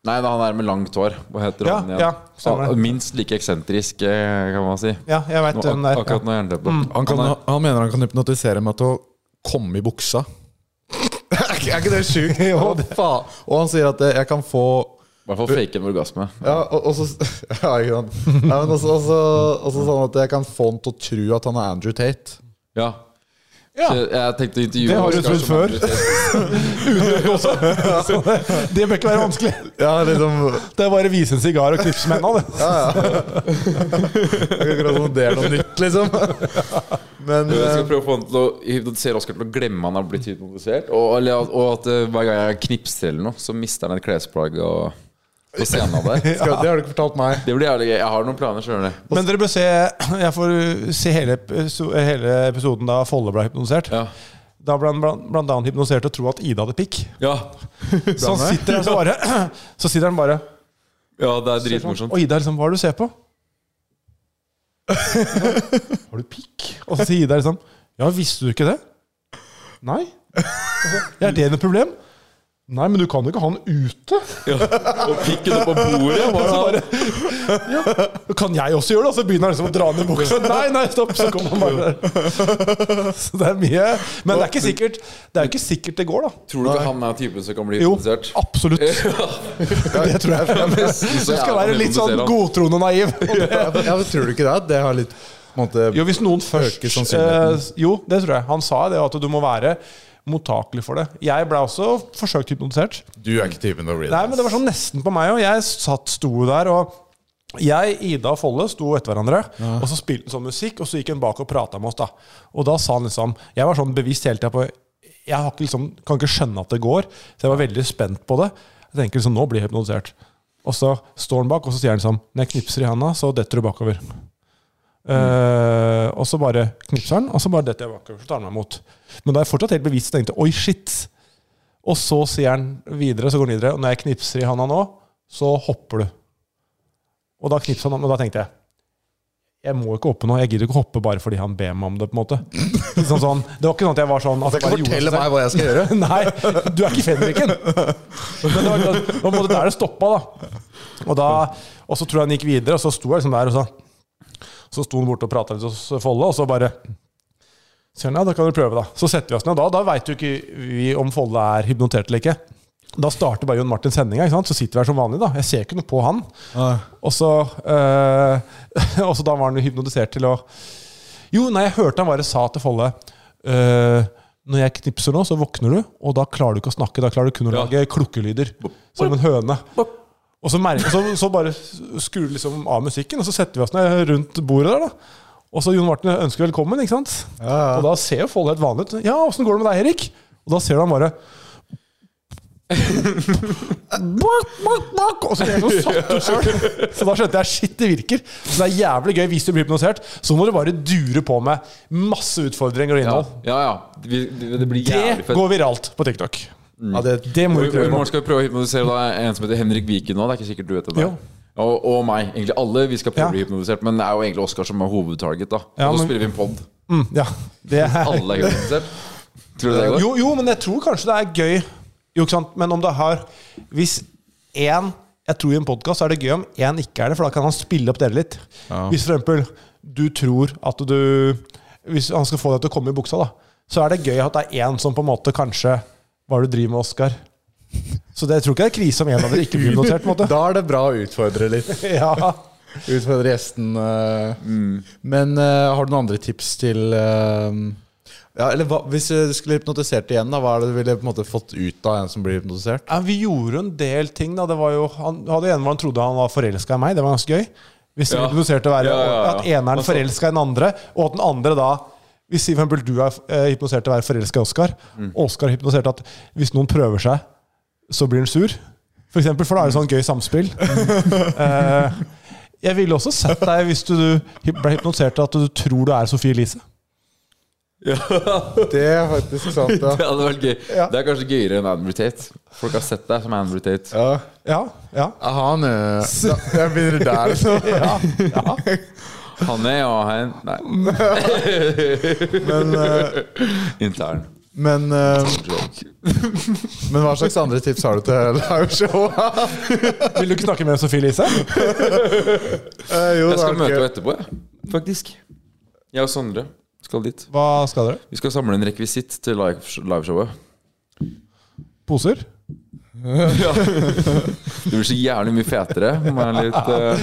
S4: Nei, da, han er med langt hår. Hva heter
S5: Ja,
S4: han
S5: ja, stemmer.
S4: Ah, Minst like eksentrisk, eh, kan man si.
S5: Ja, jeg
S4: Nå,
S5: veit
S4: ak
S5: den der.
S4: akkurat
S5: Ja.
S4: når jeg på.
S3: Han, kan,
S4: Han
S3: han,
S4: er-
S3: mener han kan hypnotisere meg til å komme i buksa. er ikke- er ikke det sjukt? Å, faen. Og han sier at eh, jeg kan få
S4: I hvert fall fake en orgasme.
S3: Ja, og, og så Ja, ikke sant. Ja, men også, også, også sånn at jeg kan få han til å tro at han er Andrew Tate.
S4: Ja.
S5: Ja.
S4: Så jeg tenkte å intervjue
S5: Det har du
S4: Oscar
S5: trodd
S4: som
S5: før.
S4: andre-
S5: Det bør ikke være vanskelig.
S3: Ja, liksom
S5: Det er bare å vise en sigar og knipse med henda, det.
S3: Akkurat som det er noe nytt, liksom. Men
S4: Jeg skal
S3: eh,
S4: prøve å få han til å hypnotisere Oskar til å glemme han har blitt hypnotisert. Og, eller at- og at eh, hver gang jeg knipser eller noe, så mister han et klesplagg og, på scenen av det.
S3: skal, det har du ikke fortalt meg.
S4: Det blir jævlig gøy. Jeg har noen planer, skjønner du.
S5: Men dere bør se Jeg får se hele, episo- hele episoden da Folle ble hypnotisert.
S4: Ja.
S5: Da ble han blant, blant annet hypnotisert til å tro at Ida hadde pikk.
S4: Ja.
S5: Så han sitter der så bare Så sitter han bare
S4: ja, det er
S5: Og
S4: dritmorsomt.
S5: Ida liksom Hva er det du ser på? Har du pikk? Og så sier Ida liksom Ja, visste du ikke det? Nei. Ja, er det noe problem? Nei, men du kan jo ikke ha den ute.
S4: Ja. Og pikken opp på bordet. Bare,
S5: Kan jeg også gjøre det? Og så begynner han liksom å dra ned buksa. Nei, nei, stopp! Så kommer han bare der. Så det er mye. Men det er ikke sikkert det er jo ikke sikkert det går, da.
S4: tror du ikke han er typen som kan bli
S5: Jo,
S4: hypnotisert?
S5: absolutt. Det tror jeg.
S4: Du
S5: Du skal være litt sånn godtroende og naiv.
S3: Ja, men- ja, men Tror du ikke det? Det har litt på en måte,
S5: Jo, hvis noen først
S3: Øker sannsynligheten.
S5: eh, Jo, det tror jeg. Han sa det, at du må være mottakelig for det. Jeg ble også forsøkt hypnotisert.
S3: Du er ikke typen til å bli
S5: Nei, men det var sånn nesten på meg òg. Jeg satt, sto der, og jeg, Ida og Folle sto etter hverandre. Og så spilte han sånn musikk, og så gikk hun bak og prata med oss, da. Og da sa han liksom Jeg var sånn bevisst hele tida på Jeg har ikke liksom, kan ikke skjønne at det går, så jeg var veldig spent på det. Jeg tenker liksom, nå blir jeg hypnotisert. Og så står han bak, og så sier han sånn Når jeg knipser i handa, så detter du bakover. Eh, og så bare knipser han, og så bare detter jeg bakover. Så tar han meg imot. Men da er jeg fortsatt helt bevisst og tenkte oi, shit. Og så sier han videre, så går han videre. Og når jeg knipser i handa nå, så hopper du. Og da knipser han, og da tenkte jeg jeg må ikke hoppe nå. Jeg gidder ikke hoppe bare fordi han ber meg om det. på en måte. Litt sånn, sånn, det var ikke sånn at jeg var sånn at
S3: Du kan
S5: jeg bare
S3: ikke
S5: gjorde
S3: fortelle
S5: det
S3: meg hva jeg skal gjøre.
S5: selv. Nei, du er ikke fenriken. Men det var, det var på en måte der det stoppa, da. Og, da. og så tror jeg han gikk videre, og så sto jeg liksom der, og så, så sto han borte og prata litt hos Folle, og så bare sier han ja, da kan du prøve, da. Så setter vi oss ned, og da, da veit jo ikke vi om Folle er hypnotert eller ikke. Da starter bare Jon Martin sendinga, ikke sant? så sitter vi her som vanlig. da. Jeg ser ikke noe på han. Og så, eh, og så da var han jo hypnotisert til å Jo, nei, jeg hørte han bare sa til Folle eh, Når jeg knipser nå, så våkner du, og da klarer du ikke å snakke. Da klarer du kun å
S4: Ja.
S5: lage klukkelyder. Som en høne. Og så, merker, så, så bare skrur du liksom av musikken, og så setter vi oss ned rundt bordet der. da. Og så Jon Martin ønsker velkommen, ikke sant?
S3: Ja, ja.
S5: Og da ser jo Folle helt vanlig ut. 'Ja, åssen går det med deg, Erik?' Og da ser du han bare Bak, bak, bak Og så ble jeg så satt ut selv. Så da skjønte jeg shit, det virker. Så det er jævlig gøy hvis du blir hypnotisert. Så må du bare dure på med masse utfordringer og
S4: Ja,
S5: innhold.
S4: ja. ja. Det, det, det blir jævlig
S5: Det
S4: fett.
S5: går viralt på TikTok.
S3: Ja, det,
S5: Det må
S4: Og I
S5: du
S4: i
S5: prøve.
S4: morgen skal vi prøve å hypnotisere da, en som heter Henrik Viken nå. Det er ikke sikkert du vet det.
S5: Jo.
S4: Og, og meg. Egentlig alle vi skal prøve
S5: Ja.
S4: å bli hypnotisert. Men det er jo egentlig Oskar som er hovedtarget. da
S5: Ja,
S4: Og så
S5: men-
S4: spiller vi en pod.
S5: Mm, ja, det er
S4: Alle er hypnotisert. Tror du det går?
S5: Eh, Jo, jo, men jeg tror kanskje det er gøy. Jo, ikke sant? Men om det har Hvis én Jeg tror i en podkast er det gøy om én ikke er det, for da kan han spille opp dere litt. Hvis for eksempel du tror at du Hvis han skal få deg til å komme i buksa, da, så er det gøy at det er én som på en måte kanskje Hva er det du driver med, Oskar? Så det, jeg tror ikke det er krise om en av dere ikke blir notert. på en måte.
S3: da er det bra å utfordre litt.
S5: Ja.
S3: Utfordre gjesten. eh. Men eh, har du noen andre tips til eh, ja, eller hva, Hvis du skulle hypnotisert igjen, da, hva er det du ville på en måte fått ut av en som blir hypnotisert?
S5: Ja, vi gjorde en del ting. da Det var jo Han hadde en hvor han trodde han var forelska i meg. Det var ganske gøy. Hvis det
S4: Ja.
S5: hypnotiserte å være
S4: Ja, ja, ja.
S5: at eneren
S4: Altså-
S5: forelska i den andre, og at den andre da Hvis for eksempel du er eh, hypnotisert til å være forelska i Oskar,
S4: Mm.
S5: og Oskar er hypnotisert til at hvis noen prøver seg, så blir han sur, for eksempel, for da er det sånn gøy samspill.
S4: Mm.
S5: Eh, jeg ville også sett deg hvis du hy- ble hypnotisert til at du tror du er Sophie Elise.
S3: Det er faktisk sant, ja.
S4: Det hadde vært gøy.
S5: Ja.
S4: Det er kanskje gøyere enn Andrew Tate. Folk har sett deg som Andrew Tate.
S3: ja.
S5: Ja, ja.
S3: Aha, nå. Da, eh, jeg begynner der, liksom.
S4: Han er ja, han Nei,
S3: Men eh,
S4: intern.
S3: Men, eh, men hva slags andre tips har du til liveshow?
S5: Vil du ikke snakke med Sofie Lise?
S3: Eh, jo,
S4: Jeg skal
S3: det er
S4: møte
S3: ikke-
S4: henne etterpå, jeg. Faktisk. Jeg og Sondre skal dit.
S5: Hva skal dere?
S4: Vi skal samle en rekvisitt til live- liveshowet.
S5: Poser?
S4: Det blir så jævlig mye fetere med litt uh,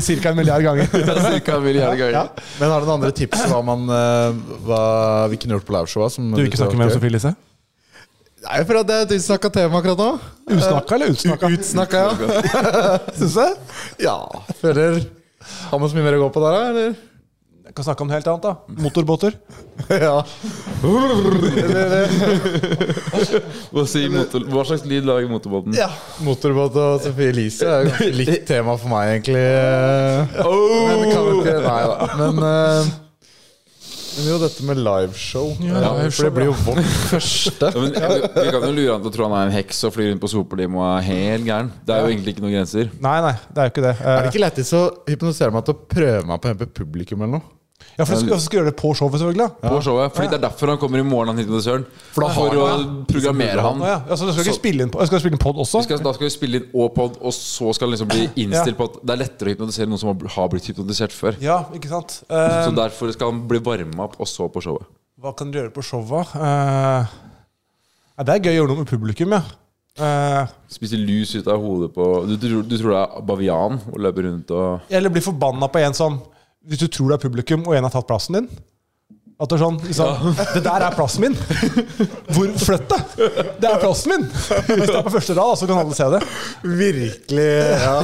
S5: Cirka en milliard ganger.
S4: cirka en milliard ganger.
S3: Men har du noen andre tips hva man eh, hva vi kunne gjort på liveshowa?
S5: Du vil ikke snakke med Sofie Lise?
S3: Nei, for at det er et utsnakka tema akkurat nå.
S5: Usnakka eller utsnakka?
S3: Utsnakka, ja.
S5: Syns jeg.
S3: ja. Føler Har man så mye mer å gå på der, da? Eller?
S5: Jeg kan snakke om noe helt annet, da. Motorbåter.
S3: ja.
S4: Hva, sier motor, hva slags lyd lager motorbåten?
S3: ja. Motorbåt og Sophie Elise er jo ganske likt tema for meg, egentlig. eh. Men det kan jo ikke Nei da. Men eh, men jo, dette med liveshow. Ja, for det blir jo vårt første.
S4: Ja, men, vi, vi kan jo lure han til å tro han er en heks og flyr rundt på sopelim og er helt gæren. Det er jo egentlig ikke noen grenser.
S5: Nei, nei, det er jo ikke det. Eh,
S3: Er det ikke lettest å hypnotisere meg til å prøve meg på å hente publikum eller noe?
S5: Eh, Ja, for du skal, skal gjøre det på showet, selvfølgelig. da.
S4: På showet, fordi Det er derfor han kommer i morgen han hit med Søren. For,
S3: da har
S4: å
S3: han
S4: programmere han.
S5: Å, ja. Altså, du skal ikke spille inn på, jeg skal spille inn pod også?
S4: Vi skal, da skal vi spille inn og pod, og så skal han liksom bli innstilt på at det er lettere å hypnotisere noen som har- har blitt hypnotisert før.
S5: Ja, ikke sant? Eh,
S4: Så derfor skal han bli varma opp, og så på showet.
S5: hva kan dere gjøre på showet? Eh, ja, det er gøy å gjøre noe med publikum, ja. Eh,
S4: Spise lus ut av hodet på Du, tror- du tror det er bavian og løper rundt og
S5: eller bli forbanna på en som Hvis du tror det er publikum, og en har tatt plassen din. At det er sånn liksom, Det der er plassen min! Hvor Flytt deg! Det er plassen min! Hvis det er på første rad, da, så kan alle se det.
S3: Virkelig. Ja.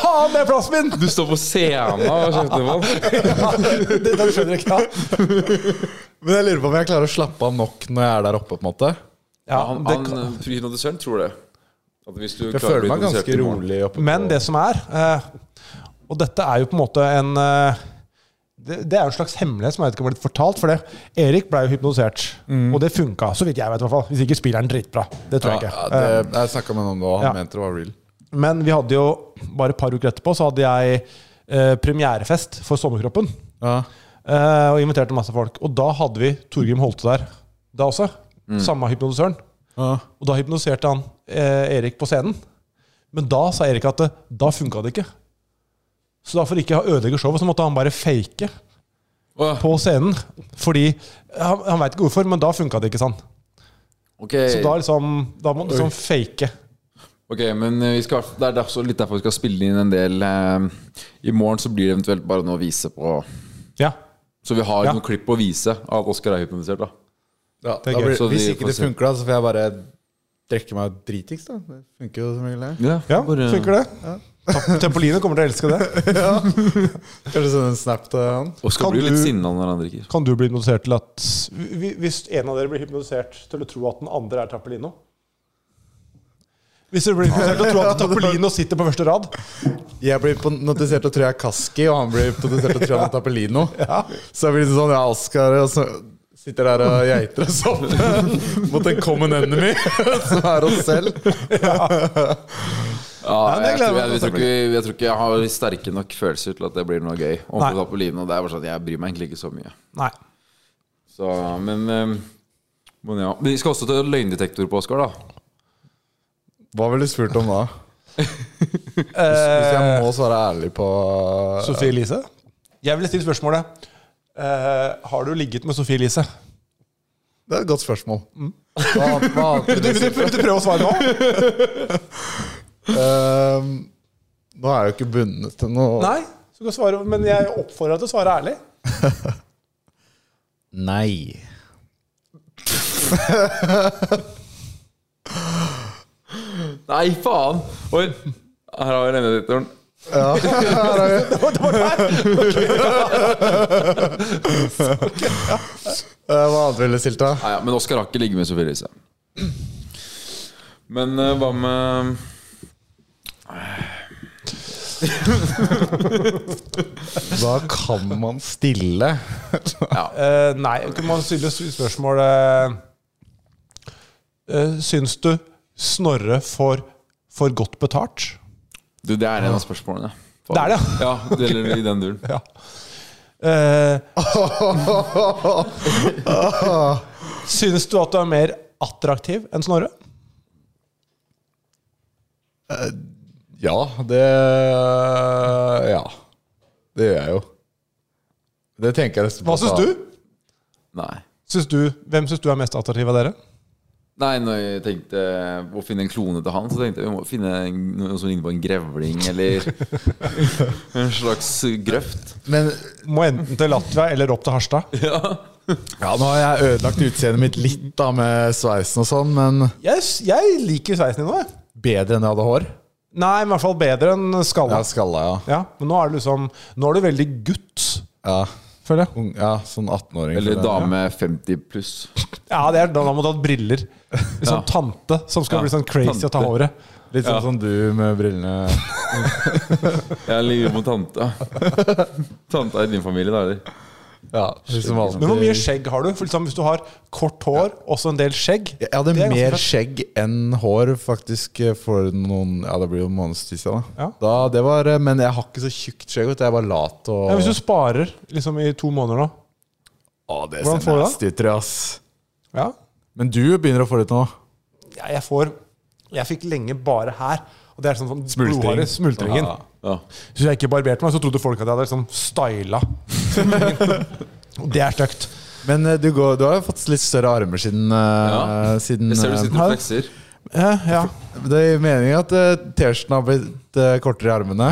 S5: Faen, det er plassen min!
S4: Du står på scenen og kjefter på han.
S5: Ja, det, det skjønner jeg ikke. Ja,
S3: Men jeg lurer på om jeg klarer å slappe av nok når jeg er der oppe. på en måte
S5: ja
S4: Han,
S5: det,
S4: han eh, hypnotisøren tror det. At hvis du
S3: Jeg
S4: klarer å
S3: føler
S4: bli
S3: meg
S4: hypnotisert
S3: ganske
S4: i morgen
S3: rolig oppe. på-
S5: Men det som er eh, Og dette er jo på en måte en eh, det, det er jo en slags hemmelighet som jeg vet ikke om har blitt fortalt. For det Erik ble jo hypnotisert, og det funka. Så vidt jeg vet, i hvert fall. Hvis ikke spiller han dritbra. Det tror
S3: ja, ja,
S5: jeg ikke. Eh,
S3: det, Jeg snakka med noen nå, han
S5: Ja.
S3: mente det var real.
S5: men vi hadde jo bare et par uker etterpå så hadde jeg eh, premierefest for Sommerkroppen.
S3: Ja.
S5: eh, og inviterte masse folk. Og da hadde vi Torgrim Holte der da også. Samme hypnotisøren.
S3: Ja.
S5: Og da hypnotiserte han eh, Erik på scenen. Men da sa Erik at det, da funka det ikke. Så da for ikke å ødelegge showet, så måtte han bare fake
S4: Åh,
S5: på scenen. Fordi Han, han veit ikke hvorfor, men da funka det ikke sånn.
S4: ok.
S5: Så da, liksom, da må du liksom fake.
S4: ok, men eh, vi skal, det er derfor, litt derfor vi skal spille inn en del. eh, I morgen så blir det eventuelt bare noe å vise på
S5: Ja.
S4: Så vi har
S5: Ja.
S4: noen klipp å vise av at Oskar er hypnotisert. da
S3: Ja,
S5: er
S3: da
S5: gøy.
S3: blir,
S4: Så
S3: hvis
S4: de
S3: ikke
S4: får
S3: det
S4: se.
S3: funker, da, så får jeg bare drikke meg dritings. da Det funker jo som regel. det.
S5: ja funker det? Tap- Tempoline kommer til å elske det.
S3: Kanskje sende en snap til han.
S4: Oskar
S5: Kan
S4: blir jo
S5: du-
S4: litt sinna når han drikker.
S5: Kan du bli hypnotisert til at hvi- Hvis en av dere blir hypnotisert til å tro at den andre er Tappelino? Hvis dere blir hypnotisert til å tro at Tappelino sitter på første rad?
S3: Jeg blir på- notisert og tror jeg er Kaski, og han blir notisert og tror han er Tappelino. Så jeg blir litt sånn Ja, Oskar og så sitter der og geiter oss opp mot en common enemy, som er oss selv.
S4: Ja,
S3: det
S4: jeg,
S3: gleder
S4: tror,
S3: jeg
S4: jeg,
S3: meg til å
S4: tror ikke, jeg tror ikke jeg har sterke nok følelser til at det blir noe gøy. Om
S5: Nei.
S4: på Tapolino, det er bare sånn at Jeg bryr meg egentlig ikke så mye.
S5: Nei.
S4: Så, men, eh, men ja Men Vi skal også til løgndetektor på Oskar, da.
S3: Hva ville du spurt om da? Hvis jeg må svare ærlig på
S5: Eh, Sofie Elise? Jeg ville stilt spørsmålet eh, Har du ligget med Sofie Elise?
S3: Det er et godt spørsmål.
S5: Mm.
S3: Hva, hva annet
S5: Vil du, vil du prøve å svare nå?
S3: Ehm, Nå er jeg jo ikke bundet til noe
S5: Nei. Så kan du svare, men jeg oppfordrer deg til å svare ærlig.
S3: Nei.
S4: Nei, faen! Oi, her har vi løgndetektoren.
S3: Eh, Hva annet ville du stilt, da?
S4: Nei, ja, men Oskar har ikke ligget med Sofie Elise. Men eh, hva med
S3: Da kan man stille.
S5: Eh, nei, kan man stille s- spørsmålet eh, Syns du Snorre får for godt betalt?
S4: Du, det er en av spørsmålene.
S5: Det er det,
S4: ja. det gjelder i den duren.
S5: Eh, Synes du at du er mer attraktiv enn Snorre?
S3: Ja, det Ja. Det gjør jeg jo. Det tenker jeg nesten
S5: Hva syns du?
S4: Nei.
S5: Syns du? Hvem syns du er mest attraktiv av dere?
S4: Nei, når jeg tenkte på å finne en klone til han, så tenkte jeg vi må finne en, noe som ligner på en grevling, eller en slags grøft.
S3: Men
S5: Må enten til Latvia eller opp til Harstad.
S3: ja, nå har jeg ødelagt utseendet mitt litt da med sveisen og sånn, men
S5: Jeg, s- jeg liker sveisen din nå, jeg.
S3: bedre enn jeg hadde hår.
S5: Nei, men i hvert fall bedre enn skalla.
S3: Ja, skalla, ja.
S5: Ja, men nå er du liksom Nå er du veldig gutt,
S3: Ja,
S5: føler jeg.
S3: Ung, ja sånn 18-åring.
S4: Eller
S3: føler jeg.
S4: dame 50 pluss.
S5: Ja, det er da da må du ha briller. Liksom
S4: Ja.
S5: tante som skal
S4: Ja,
S5: bli sånn crazy og ta
S4: tante.
S5: håret.
S3: Litt sånn som du med brillene.
S4: Jeg ligner mot tanta. Tanta i din familie, da, eller?
S3: Ja, slik som alltid.
S5: Men hvor mye skjegg har du? For liksom, hvis du har kort hår, også en del skjegg
S3: Jeg hadde
S5: Det er ganske
S3: mer
S5: fett.
S3: skjegg enn hår faktisk eh, for noen Ja, det blir jo en måneds tid siden. Da.
S5: Ja.
S3: Da, det var, eh, men jeg har ikke så tjukt skjegg. vet du. Jeg var lat og
S5: ja, Hvis du sparer liksom i to måneder nå
S3: Å, det
S5: Hvordan
S3: ser
S5: får du det?
S3: nasty ut, tror jeg, ass.
S5: Ja,
S3: Men du begynner å få det ut nå.
S5: ja jeg får Jeg fikk lenge bare her. Og det er sånn, sånn
S3: Smultring.
S5: blodhare, smultringen.
S3: Ja.
S4: Ja.
S5: Så jeg ikke barberte meg, så trodde folk at jeg hadde liksom styla. Og det er stygt.
S3: Men eh, du, går, du har jo fått litt større armer siden, eh, siden
S4: Jeg ser du
S3: eh,
S4: sitter og flekser.
S5: Ja, ja.
S3: Det er meningen at eh, T-skjorten har blitt eh, kortere i armene.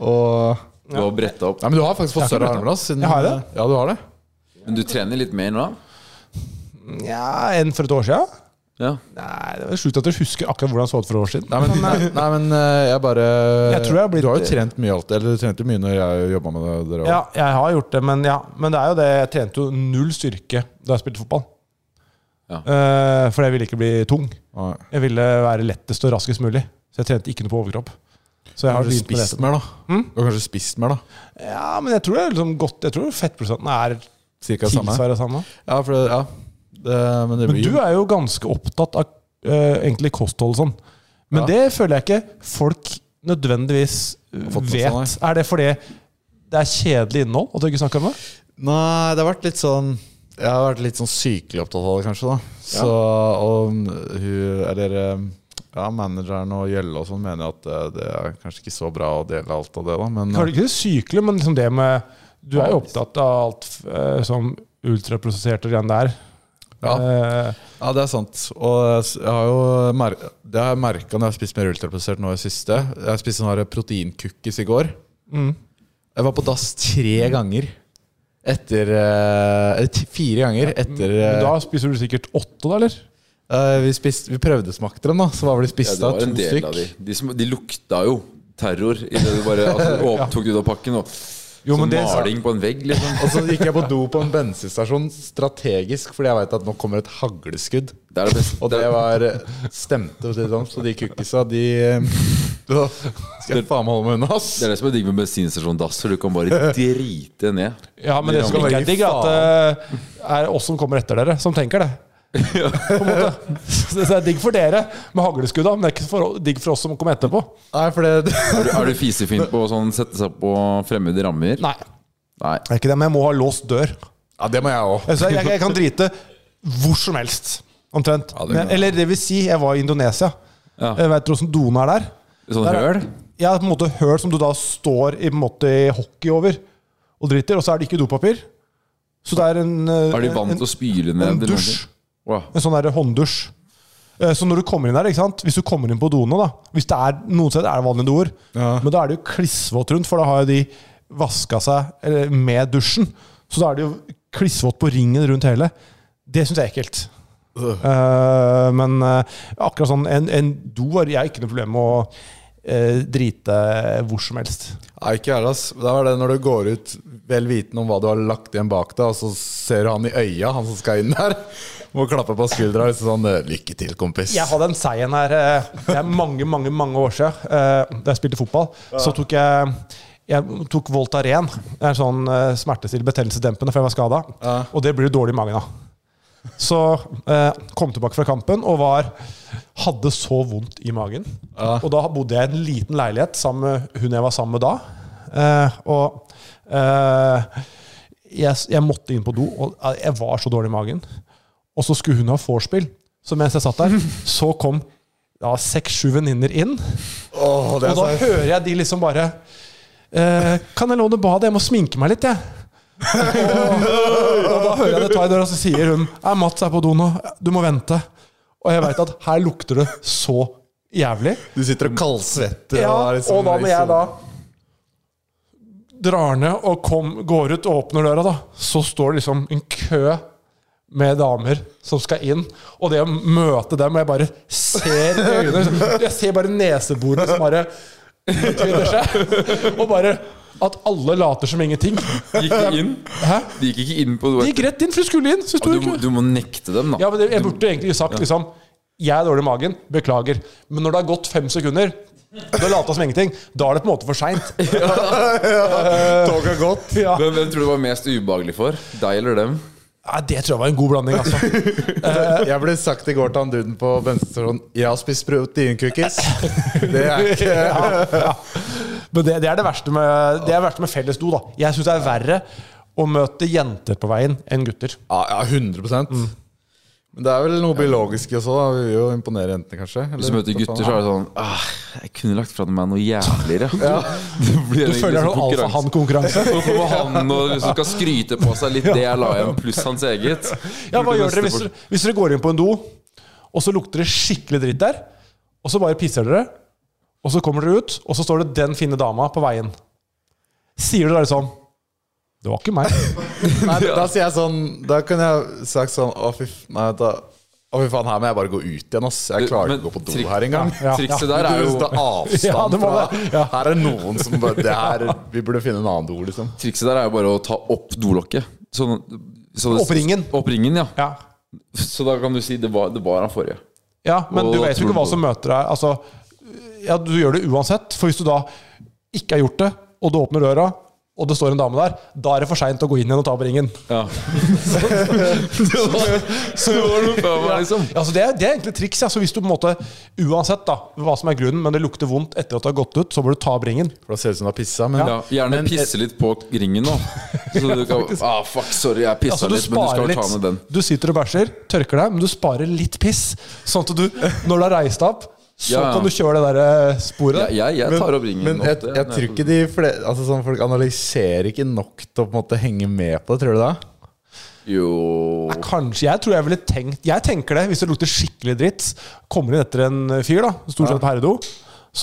S3: Og
S4: Du har bretta opp.
S3: Nei, men du har faktisk fått større armer. ass, Siden,
S5: Jeg har det.
S3: Ja, du har det.
S4: Men du trener litt mer nå?
S5: ja Enn for et år sia?
S4: Ja.
S5: Nei, det er slutt at du husker akkurat hvordan Sånn det så ut for et år siden.
S3: Nei, men, nei, nei, men eh, jeg bare
S5: Jeg tror jeg har blitt- eh,
S3: Du har jo trent mye alltid. Eller du trente jo mye når jeg jobba med dere. også.
S5: Ja, jeg har gjort det, men, ja. men det er jo det. Jeg trente jo null styrke da jeg spilte fotball.
S4: Ja.
S5: Eh, for jeg ville ikke bli tung.
S3: Nei.
S5: Jeg ville være lettest og raskest mulig. Så jeg trente ikke noe på overkropp. Så jeg har
S3: Kanskje
S5: begynt med
S3: spist
S5: det. Hm?
S3: mer, da. Du har kanskje spist mer, da.
S5: Ja, men jeg tror det er liksom godt Jeg tror fettprosenten er
S3: Cirka det samme.
S5: tilsvarende samme.
S3: Ja, for det, ja. Det, men det
S5: Men
S3: blir
S5: du er jo ganske opptatt av eh, egentlig kosthold og sånn. Men
S3: Ja.
S5: det føler jeg ikke folk nødvendigvis
S3: fått med
S5: vet.
S3: seg,
S5: er det fordi det er kjedelig innhold at du ikke snakker om det?
S3: Nei, det har vært litt sånn Jeg har vært litt sånn sykelig opptatt av det, kanskje. da Så Og mm, hun Eller eh, ja, manageren og Gjelle og sånn mener at eh, det er kanskje ikke så bra å dele alt av det, da. Men eh,
S5: Kanskje ikke det sykelig, men liksom det med Du er jo opptatt av alt eh, som ultraprosesserte greiene der.
S3: ja,
S5: Eh,
S3: ja, det er sant. Og jeg s- jeg har jo mer det har jeg merka når jeg har spist mer ultraprosessert nå i det siste. Jeg spiste sånne her proteinkukkis i går.
S5: Mm.
S3: Jeg var på dass tre ganger. Etter eh, Eller t- fire ganger etter
S5: men
S3: eh,
S5: da spiser du sikkert åtte, da, eller?
S3: Eh, vi, spiste, vi prøvesmakte dem, da. Så var vel de
S4: ja,
S3: spist
S4: det
S3: av
S4: var en
S3: to
S4: del av
S3: stykk.
S4: de. De, som, de lukta jo terror idet du bare altså, åp- tok det ut av pakken. Og,
S5: Jo,
S4: som
S5: men det-
S4: maling på en vegg, liksom.
S3: Og så gikk jeg på do på en bensinstasjon strategisk, fordi jeg veit at nå kommer et hagleskudd.
S4: Det er det beste.
S3: Og det var eh, stemte, for å si det sånn. Så de kukkisa, de eh, Da skal jeg faen meg holde meg unna, ass.
S4: Det er det som er digg med bensinstasjondasser. Du kan bare drite ned.
S5: Ja, men det som
S3: rammer.
S5: ikke er digg, er at det er oss som kommer etter dere, som tenker det. På en måte. Så det er digg for dere med hagleskudda, men det er ikke for, digg for oss som kommer etterpå.
S3: Nei, for det
S4: Er du, er du fisefint på å sånn, sette seg på fremmede rammer?
S5: Nei,
S4: Nei.
S5: det er ikke det, men jeg må ha låst dør.
S3: Ja, det må jeg òg.
S5: Altså, jeg, jeg kan drite hvor som helst, omtrent.
S3: Ja, det kan
S5: Men,
S3: jeg.
S5: eller det vil si, jeg var i Indonesia.
S4: Ja.
S5: Jeg Vet du åssen doene er der?
S4: Sånn
S5: Der er-
S4: høl?
S5: Ja, på en måte høl som du da står i, på en måte, i hockey over og driter, og så er det ikke dopapir. Så det er en eh,
S4: Er de
S5: en-
S4: vant til å spyle ned?
S5: en
S4: eller
S5: dusj.
S4: noe? Wow.
S5: En sånn der hånddusj. Eh, Så når du kommer inn der, ikke sant? hvis du kommer inn på doene da, hvis det er, Noen steder er det vanlige doer, men da er det jo klissvått rundt, for da har jo de vaska seg eller, med dusjen. Så da er det jo klissvått på ringen rundt hele. Det syns jeg er ekkelt. Eh, men eh, akkurat sånn en, en do har jeg ikke noe problem med å eh, drite hvor som helst.
S3: Nei, ikke jeg, ass. Det var det når du går ut vel vitende om hva du har lagt igjen bak deg, og så ser du han i øya, han som skal inn der, må klappe på skuldra og sånn eh, Lykke til, kompis.
S5: Jeg hadde en seier her eh, Det er mange, mange mange år siden. eh, Da jeg spilte fotball, så tok jeg jeg tok Voltaren. Det er en sånn eh, smertestillende, betennelsesdempende, for jeg var skada. Og det blir du dårlig i magen av. Så eh, kom tilbake fra kampen og var hadde så vondt i magen. Og da bodde jeg i en liten leilighet sammen med hun jeg var sammen med da. Eh, og eh, jeg, jeg måtte inn på do, og jeg var så dårlig i magen. Og så skulle hun ha vorspiel. Så mens jeg satt der, så kom ja, seks-sju venninner inn.
S3: Åh, det
S5: Og
S3: er
S5: da
S3: så-
S5: hører jeg de liksom bare eh, Kan jeg låne badet? Jeg må sminke meg litt, jeg. og, og da hører jeg det ta i døra, og så sier hun «Nei, Mats er på do nå. Du må vente. Og jeg veit at her lukter det så jævlig.
S3: Du sitter og kaldsvetter.
S5: Ja,
S3: er liksom-
S5: og da når jeg da drar ned og kom, går ut og åpner døra, da, så står det liksom en kø med damer som skal inn. Og det å møte dem, og jeg bare ser i øynene liksom, Jeg ser bare neseborene som bare utvider seg. Og bare at alle later som ingenting.
S4: Gikk de inn?
S5: Hæ?
S4: De gikk ikke inn på
S5: De gikk rett inn, for de skulle inn. Så
S4: Ja,
S5: sto
S4: du, må-
S5: ikke.
S4: du må nekte dem, da.
S5: Ja, men det- Jeg burde egentlig sagt liksom Jeg er dårlig i magen, beklager. Men når det har gått fem sekunder, da later jeg som ingenting. Da er det på en måte for seint.
S3: Toget har gått.
S5: Ja.
S4: Hvem, hvem tror du var mest ubehagelig for? Deg eller dem?
S5: Ja, det tror jeg var en god blanding, altså.
S3: liksom- Jeg ble sagt i går til han duden på bensinstasjonen Jeg har spist proteincookies. Det er ikke
S5: Men det, det er det verste med, det er det verste med felles do, da. Jeg syns det er verre å møte jenter på veien enn gutter.
S3: Ja, ja 100
S4: Mm.
S3: Men det er vel noe biologisk i også. da Vi vil jo imponere jentene, kanskje.
S4: Hvis du møter gutter, så er det sånn ah, Jeg kunne lagt fra meg noe jævligere. Du,
S5: Du føler deg sånn alfahann-konkurranse.
S4: Hvorfor var liksom han nå liksom skal skryte på seg litt det jeg la igjen, pluss hans eget?
S5: Ja, hva
S4: Burde
S5: gjør dere hvis,
S4: neste
S5: dere hvis dere går inn på en do, og så lukter det skikkelig dritt der, og så bare pisser dere, og så kommer dere ut, og så står det 'den fine dama' på veien. Sier du da liksom Det var ikke meg.
S3: Nei, Da sier jeg sånn Da kunne jeg sagt sånn Å, fy, f- nei, da, å, fy faen, her må jeg bare gå ut igjen, ass. Jeg
S4: Du,
S3: klarer
S4: men
S3: ikke å gå på do
S4: trikk-
S3: her engang.
S5: Ja,
S4: Trikset
S5: ja.
S4: der er jo
S3: Det er avstand
S5: Ja, det må
S3: fra
S5: det, ja.
S3: Her er noen som bare det her, Vi burde finne en annen do, liksom.
S4: Trikset der er jo bare å ta opp dolokket. Sånn, så det-
S5: Opp ringen.
S4: Opp ringen, ja.
S5: Ja.
S4: Så da kan du si det var, det var han forrige.
S5: Ja, men
S4: Og
S5: du
S4: da
S5: vet
S4: tror
S5: jo ikke hva
S4: du-
S5: som møter deg. Altså, ja, du gjør det uansett. For hvis du da ikke har gjort det, og du åpner døra, og det står en dame der, da er det for seint å gå inn igjen og ta på ringen.
S4: Ja. så, så det var noe før meg, liksom.
S5: Ja, altså det, er, det er egentlig triks. Ja. Så hvis du på en måte, uansett da, hva som er grunnen, men det lukter vondt etter at det har gått ut, så bør du ta opp ringen.
S3: For da ser det ut som du har pissa. Men
S4: Ja, gjerne pisse litt på ringen nå. Så du kan, ah, fuck, sorry, jeg pissa
S5: Altså, du
S4: litt, men du
S5: sparer
S4: skal ta med den.
S5: litt. Du sitter og bæsjer, tørker deg, men du sparer litt piss. Sånn at du, når du har reist deg opp, så
S4: Ja, ja.
S5: kan du kjøre det der eh, sporet.
S4: Jeg, jeg, jeg tar opp ringen.
S3: men
S4: opp
S3: jeg,
S4: det.
S3: jeg tror ikke de fle, altså sånn Folk analyserer ikke nok til å på en måte henge med på det, tror du det?
S4: Jo
S5: Kanskje, Jeg tror jeg ville tenkt Jeg tenker det, hvis det lukter skikkelig dritt, kommer inn etter en fyr, da stort sett på herredo,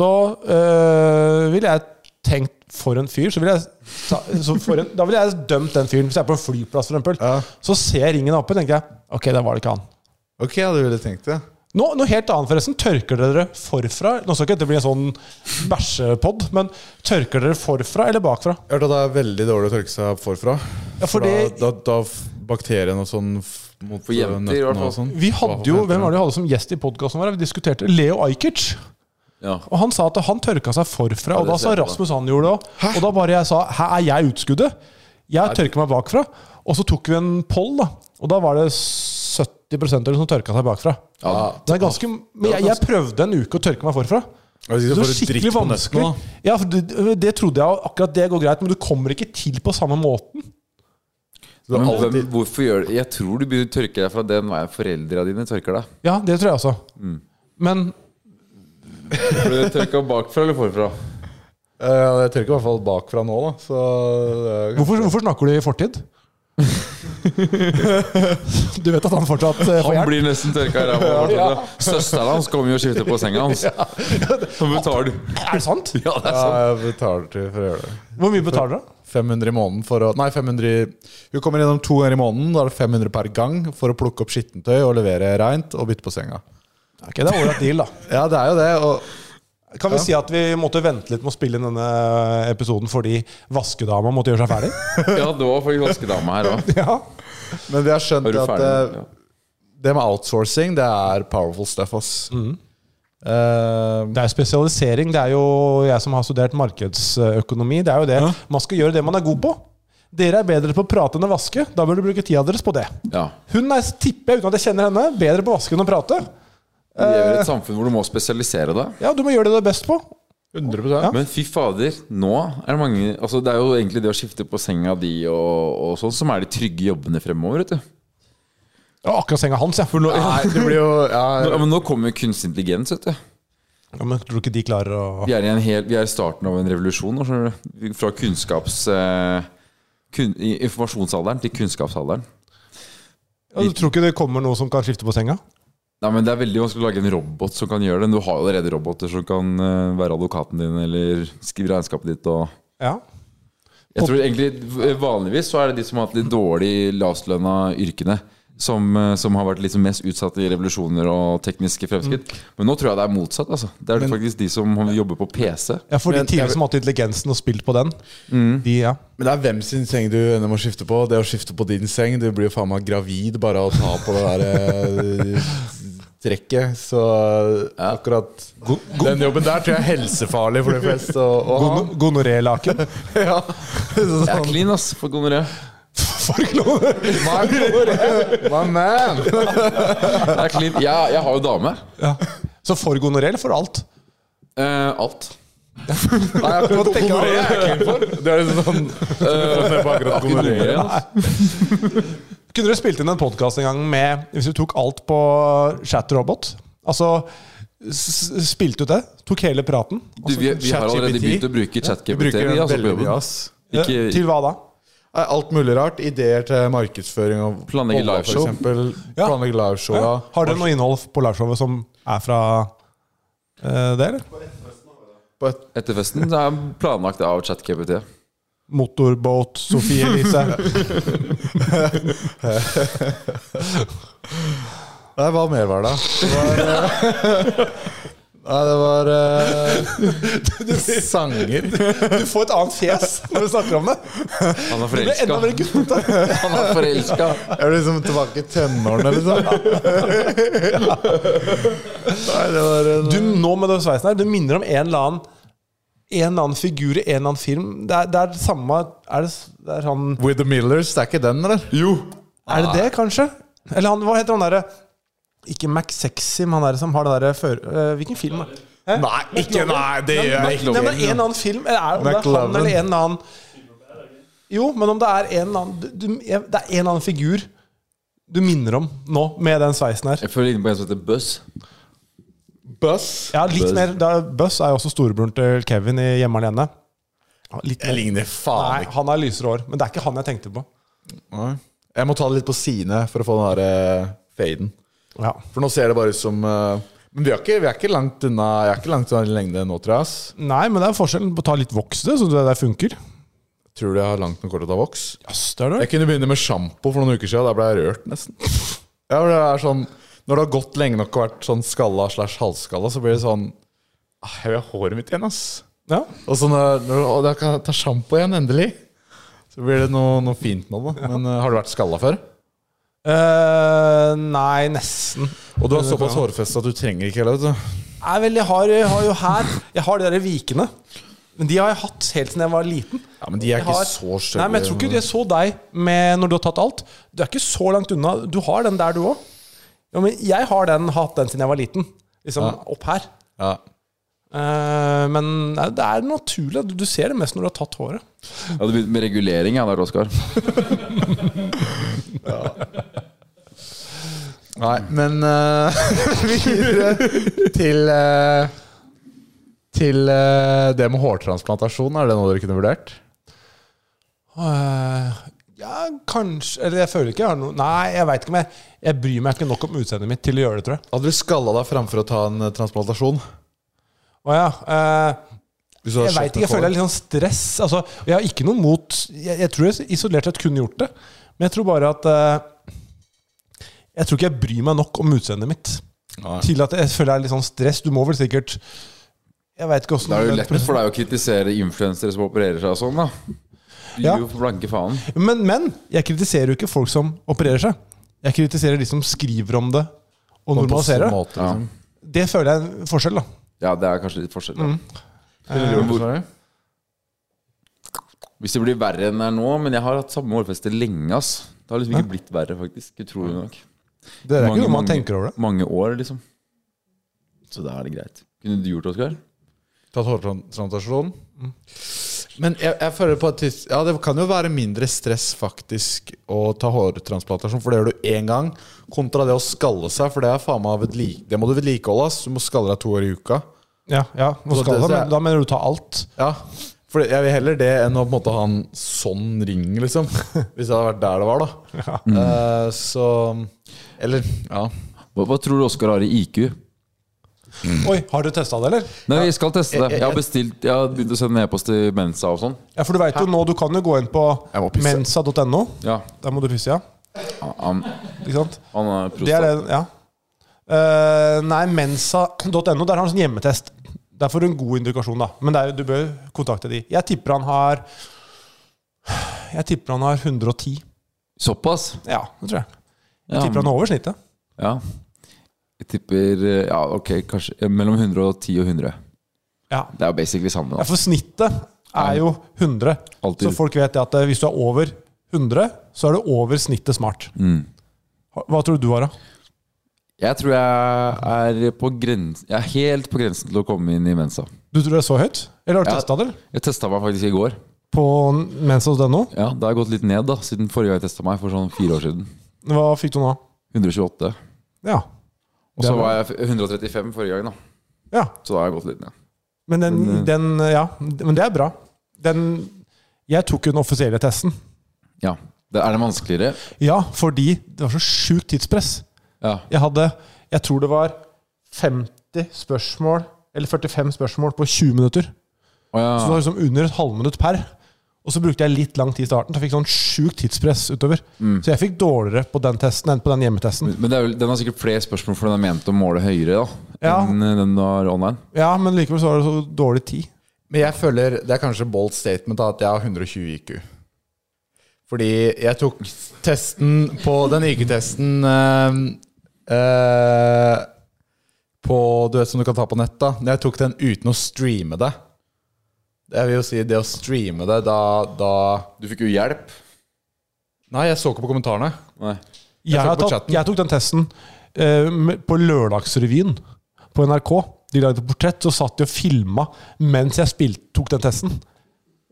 S5: så øh, ville jeg tenkt for en fyr så ville jeg, ta- så for en, Da ville jeg dømt den fyren. Hvis jeg er på en flyplass, for eksempel,
S3: Ja.
S5: så ser ringen oppe, tenker jeg. Ok, der var det ikke han.
S3: Ok, jeg hadde ville tenkt det.
S5: Nå, noe helt annet, forresten. Tørker dere forfra? Nå skal ikke dette bli en sånn bæsjepod, men tørker dere forfra eller bakfra?
S3: Jeg hørte at det er veldig dårlig å tørke seg opp forfra.
S5: Ja, for
S3: da,
S5: det-
S3: da, da f- bakterien og sånn f- mot
S4: For jenter,
S3: nøttene
S4: i hvert fall.
S3: og sånn.
S5: Vi hadde jo, Hvem var det vi hadde som gjest i podkasten vår? Vi diskuterte Leo Ajkic.
S4: ja.
S5: Og han sa at han tørka seg forfra, og
S4: det
S5: da sa
S4: ser jeg på.
S5: Rasmus han gjorde det òg. Og da bare jeg sa 'hæ, er jeg utskuddet?' Jeg tørker meg bakfra. Og så tok vi en poll, da. Og da var det 70 av dem som tørka seg bakfra.
S4: Ja,
S5: Det er ganske, men jeg, jeg prøvde en uke å tørke meg forfra.
S3: Jeg synes du
S5: Det var
S3: får litt
S5: skikkelig
S3: drikk på nøttene,
S5: vanskelig.
S3: da.
S5: Ja, for det, det trodde jeg akkurat det går greit, men du kommer ikke til på samme måten.
S3: Du har
S4: Men hvem,
S3: alltid,
S4: hvorfor gjør det? Jeg tror du begynner å tørke deg fra den veien foreldra dine tørker deg.
S5: Ja, det tror jeg også.
S4: Mm.
S5: Men
S4: Ble du tørka bakfra eller forfra?
S3: Eh, jeg tørker i hvert fall bakfra nå, da. Så det er-
S5: hvorfor, hvorfor snakker du i fortid? du vet at han fortsatt eh, får
S4: Han
S5: hjelp?
S4: blir nesten tørka i ræva. Ja. Søsteren hans kommer jo og skifter på senga hans. Så betaler du.
S5: Er det sant?
S4: Ja, det sånn? er
S3: ja,
S4: sant.
S3: jeg betaler til for å gjøre det.
S5: Hvor mye betaler dere?
S3: 500 i måneden for å Nei, 500 Hun kommer innom to ganger i måneden. Da er det 500 per gang for å plukke opp skittentøy og levere reint og bytte på senga.
S5: Ok, det er ålreit deal, da.
S3: Ja, det er jo det. Og
S5: Kan vi si at vi måtte vente litt med å spille inn denne episoden fordi vaskedama måtte gjøre seg ferdig?
S4: Ja, det var faktisk vaskedama her òg.
S5: ja.
S3: Men vi har skjønt
S4: Er du
S3: at
S4: ferdig?
S3: eh,
S4: Ja.
S3: det med outsourcing, det er powerful stuff, ass.
S4: Mm.
S3: Eh,
S5: Det er jo spesialisering. Det er jo jeg som har studert markedsøkonomi. Det er jo det. Man skal gjøre det man er god på. Dere er bedre på å prate enn å vaske. Da bør du bruke tida deres på det.
S4: Ja.
S5: Hun er, tipper jeg, uten at jeg kjenner henne, bedre på å vaske enn å prate.
S4: Vi lever i et samfunn hvor du må spesialisere deg.
S5: Ja, du må gjøre det du er best på.
S3: 100
S4: Men fy fader, nå er det mange Altså Det er jo egentlig det å skifte på senga di og, og sånn som er de trygge jobbene fremover, vet du.
S5: Det var akkurat senga hans, jeg. For nå,
S3: Nei, det blir jo ja,
S4: Nå, men nå kommer jo kunstig intelligens, vet du.
S5: ja, men tror du ikke de klarer å
S4: Vi er i en hel, vi er i starten av en revolusjon nå, skjønner du. Fra kunnskaps... eh, kun, i- informasjonsalderen til kunnskapsalderen.
S5: ja, Du tror ikke det kommer noe som kan skifte på senga?
S4: Nei, men Det er veldig vanskelig å lage en robot som kan gjøre det. Du har jo allerede roboter som kan eh, være advokaten din eller skrive regnskapet ditt. og...
S5: Ja.
S4: Jeg tror egentlig eh, Vanligvis så er det de som har hatt de dårlig lavtlønna yrkene, som, eh, som har vært liksom mest utsatt i revolusjoner og tekniske fremskritt.
S3: Mm.
S4: Men nå tror jeg det er motsatt. altså Det er faktisk de som jobber på PC.
S5: ja for de
S3: Men-
S5: tidligere som hadde intelligensen og spilt på den,
S4: Mm.
S5: de, ja.
S3: Men det er hvem sin seng du ender med å skifte på. Det å skifte på din seng Du blir jo faen meg gravid bare av å ta på det der eh, trekket. Så eh, akkurat den jobben der tror jeg er helsefarlig for de fleste å, å ha.
S5: Gono- Gonoré-laken. sånn,
S3: Ja.
S4: Jeg er clean, ass, for gonoré.
S3: My, my man!
S4: Jeg er clean. Jeg, jeg har jo dame.
S5: Ja. Så for gonoré eller for alt?
S4: Eh, alt.
S3: Nei, akkurat gonoré er jeg clean for. Det er liksom sånn uh, på akkurat gonoré.
S4: Eh, Gonoré, ass.
S5: Kunne dere spilt inn en podkast en gang med Hvis du tok alt på chatrobot? Altså s- s- spilte ut det? Tok hele praten? Altså,
S4: Du, vi, vi har allerede begynt å bruke
S3: Vi
S4: ChatGPT.
S3: bruker
S4: vi,
S3: den
S4: altså, på
S3: veldig mye,
S4: jobben.
S3: ass.
S4: Ikke-
S5: Til hva da?
S3: Nei, Alt mulig rart. Ideer til markedsføring og
S4: Planlegge
S3: bolla, for
S4: liveshow.
S3: eksempel.
S5: Ja.
S3: Planlegge liveshow. Ja.
S5: Har dere noe innhold på liveshowet som er fra eh, det, eller?
S3: På et
S4: Etter festen så er jeg planlagt av ChatGPT.
S5: Motorbåt, Sofie Elise
S3: Nei, hva mer var det? Det var eh, Nei, det var eh, Sanger.
S5: Du får et annet fjes når du snakker om det!
S4: Han er
S5: Det blir enda mer
S4: forelska.
S5: guttete.
S4: Han er forelska.
S3: Jeg er liksom tilbake i tenårene, liksom. Nei, det var en,
S5: Du, nå med den sveisen her, du minner om en eller annen en eller annen figur i en eller annen film. Det er det er det samme Er det, s- det er han
S3: With the Millers, det er ikke den, eller? Jo.
S5: Er det det, kanskje? Eller han, hva heter han derre Ikke Mac Sexy, men han derre som har det derre før... eh, hvilken film? er det? Hæ?
S3: Nei, ikke nei, det gjør jeg ikke.
S5: Nei, men en annen film Eller er, om det er
S3: McLovin.
S5: han eller en eller annen Jo, men om det er en eller annen du, du, jeg, Det er en eller annen figur du minner om nå, med den sveisen her.
S4: Jeg føler inne på en som heter Buzz.
S3: Buss.
S5: Ja, litt
S4: Buzz.
S5: mer da, Buzz er jo også storebroren til Kevin i Hjemme alene. Litt
S3: Jeg
S5: mer.
S3: ligner faen
S5: Nei,
S3: ikke.
S5: han er lysere hår, men det er ikke han jeg tenkte på.
S3: Nei. Jeg må ta det litt på sidene for å få den der eh, faden.
S5: Ja.
S3: For nå ser det bare ut som eh, Men vi er ikke, vi er ikke langt unna Jeg er ikke langt unna lengde nå, tror jeg. ass.
S5: Nei, men det er forskjellen på å ta litt voksne, så det der funker.
S3: Tror du jeg har langt nok kort til å ta voks?
S5: Jøss, det er det.
S3: Jeg kunne begynne med sjampo for noen uker siden. Da ble jeg rørt, nesten. Ja, men det er sånn Når det har gått lenge nok og vært sånn skalla slash halvskalla, så blir det sånn ah, Jeg vil ha håret mitt igjen, ass.
S5: Ja.
S3: Og så når, når å, da kan jeg ta sjampo igjen, endelig. Så blir det noe, noe fint nå, da. Men eh, har du vært skalla før?
S5: Eh, nei, nesten.
S3: Og du har såpass hårfeste at du trenger ikke heller, vet du.
S5: Jeg, vel, jeg, har, jeg har jo her Jeg har de der vikene. Men de har jeg hatt helt siden jeg var liten.
S3: Ja, men de er
S5: Jeg har-
S3: ikke så stygge.
S5: Nei, men Jeg tror ikke jeg så deg med når du har tatt alt. Du er ikke så langt unna. Du har den der, du òg. Ja, men jeg har den, hatt den siden jeg var liten. Liksom opp her.
S3: Ja.
S5: Eh, men nei, det er naturlig. Du, du ser det mest når du har tatt håret.
S4: Jeg hadde begynt med regulering, jeg der, Oskar.
S3: Nei, men eh, videre til eh, Til eh, det med hårtransplantasjon. Er det noe dere kunne vurdert?
S5: Eh, ja, kanskje Eller jeg føler ikke jeg har noe Nei, jeg veit ikke, men jeg, jeg bryr meg ikke nok om utseendet mitt til å gjøre det, tror jeg.
S3: Hadde du skalla deg framfor å ta en eh, transplantasjon?
S5: Å ja. eh,
S3: Hvis du hadde
S5: Jeg vet
S3: skjøtt
S5: ikke, jeg
S3: med
S5: føler det er
S3: kål?
S5: litt sånn stress. Altså, jeg har ikke noe mot jeg, jeg tror jeg isolert sett kunne gjort det, men jeg tror bare at eh, Jeg tror ikke jeg bryr meg nok om utseendet mitt
S3: Nei.
S5: til at jeg føler det er litt sånn stress. Du må vel sikkert Jeg veit ikke åssen
S4: Da er det jo lett for deg å kritisere influensere som opererer seg og sånn, da. Du
S5: Ja.
S4: gir jo for blanke faen.
S5: men, men jeg kritiserer jo ikke folk som opererer seg. Jeg kritiserer de som skriver om det og
S3: På en
S5: normaliserer det.
S3: måte, liksom.
S5: Det føler jeg er en forskjell, da.
S4: Ja, det er kanskje litt forskjell.
S5: Mm.
S4: Da.
S3: Ville
S5: Eh,
S3: du gjort det, Snorre?
S4: Hvis det blir verre enn det er nå, men jeg har hatt samme hårfeste lenge, ass. Det har liksom ikke blitt verre, faktisk. Utrolig nok.
S5: Det er ikke noe man
S4: mange,
S5: tenker over det.
S4: mange år, liksom. Så da er det greit. Kunne du gjort det, Oskar?
S3: Tatt hårtransplantasjon? Men jeg, jeg føler på at tids- Ja, det kan jo være mindre stress faktisk å ta hårtransplantasjon, for det gjør du én gang, kontra det å skalle seg, for det er faen meg vedlik, Det må du vedlikeholde, ass. Du må skalle deg to år i uka.
S5: Ja, ja. Nå
S3: Så
S5: skal
S3: det-
S5: det, men da mener du ta alt?
S3: Ja, for jeg vil heller det enn å på en måte ha en sånn ring, liksom. Hvis det hadde vært der det var, da. Eh, så Eller, ja.
S4: Hva, hva tror du Oskar har i IQ?
S5: Oi, har du testa det, eller?
S4: Nei, vi skal teste det. Jeg har bestilt Jeg har begynt å sende e-post til Mensa og sånn.
S5: Ja, for du vet jo nå, du kan jo gå inn på
S3: Jeg må pisse.
S5: mensa.no.
S4: Ja,
S5: Der må du pisse, ja.
S4: han,
S5: Ikke sant?
S4: han er
S5: Det er
S4: prostat.
S5: det, ja. Eh, nei, mensa.no, der har han sånn hjemmetest. Der får du en god indikasjon, da. Men det er, jo- du bør kontakte de. Jeg tipper han har Jeg tipper han har 110.
S4: Såpass?
S5: Ja, det tror jeg. Jeg
S4: Ja.
S5: tipper han er over snittet.
S4: Ja. Jeg tipper eh, Ja, ok, kanskje eh, mellom 110 og 100.
S5: Ja.
S4: Det er jo basically samme.
S5: ja,
S4: da.
S5: for snittet er jo 100.
S4: Alltid.
S5: Så folk vet det at eh, hvis du er over 100, så er du over snittet smart.
S4: Mm.
S5: Hva tror du du har, da?
S4: Jeg tror jeg er på grensen Jeg er helt på grensen til å komme inn i Mensa.
S5: Du tror det er så høyt? Eller har du
S4: Ja.
S5: testet testa det? eller?
S4: Jeg testa meg faktisk i går.
S5: På mensa.no?
S4: Ja, Det har gått litt ned da siden forrige gang jeg testa meg, for sånn fire år siden.
S5: Hva fikk du nå?
S4: 128.
S5: Ja.
S4: Og så var jeg 135 forrige gang, da.
S5: ja.
S4: Så da har jeg gått litt ned.
S5: Men den,
S4: Men, eh,
S5: den Ja, men det er bra. Den Jeg tok jo den offisielle testen.
S4: Ja. Det er det vanskeligere?
S5: Ja, fordi det var så sjukt tidspress.
S4: Ja.
S5: Jeg hadde Jeg tror det var 50 spørsmål eller 45 spørsmål på 20 minutter.
S4: Å, ja.
S5: Så det var liksom under et halvminutt per. Og så brukte jeg litt lang tid i starten, så jeg fikk sånn sjukt tidspress utover.
S3: Mm.
S5: Så jeg fikk dårligere på den testen enn på den hjemmetesten.
S4: Men det er vel, den har sikkert flere spørsmål, for den er ment å måle høyere da
S5: Ja.
S4: enn eh, den du har online.
S5: Ja, men likevel så var det så dårlig tid.
S3: Men jeg føler Det er kanskje bold statement da, at jeg har 120 IQ. Fordi jeg tok testen på den IQ-testen eh, eh, På Du vet som du kan ta på nett, da. Jeg tok den uten å streame det. Det vil jo si, det å streame det, da, da
S4: Du fikk jo hjelp.
S3: Nei, jeg så ikke på kommentarene.
S4: Nei.
S5: Jeg,
S3: Jeg tok
S5: har
S3: på
S5: tatt,
S3: chatten.
S5: jeg tok den testen eh, med- på Lørdagsrevyen på NRK. De lagde et portrett, så satt de og filma mens jeg spil, tok den testen.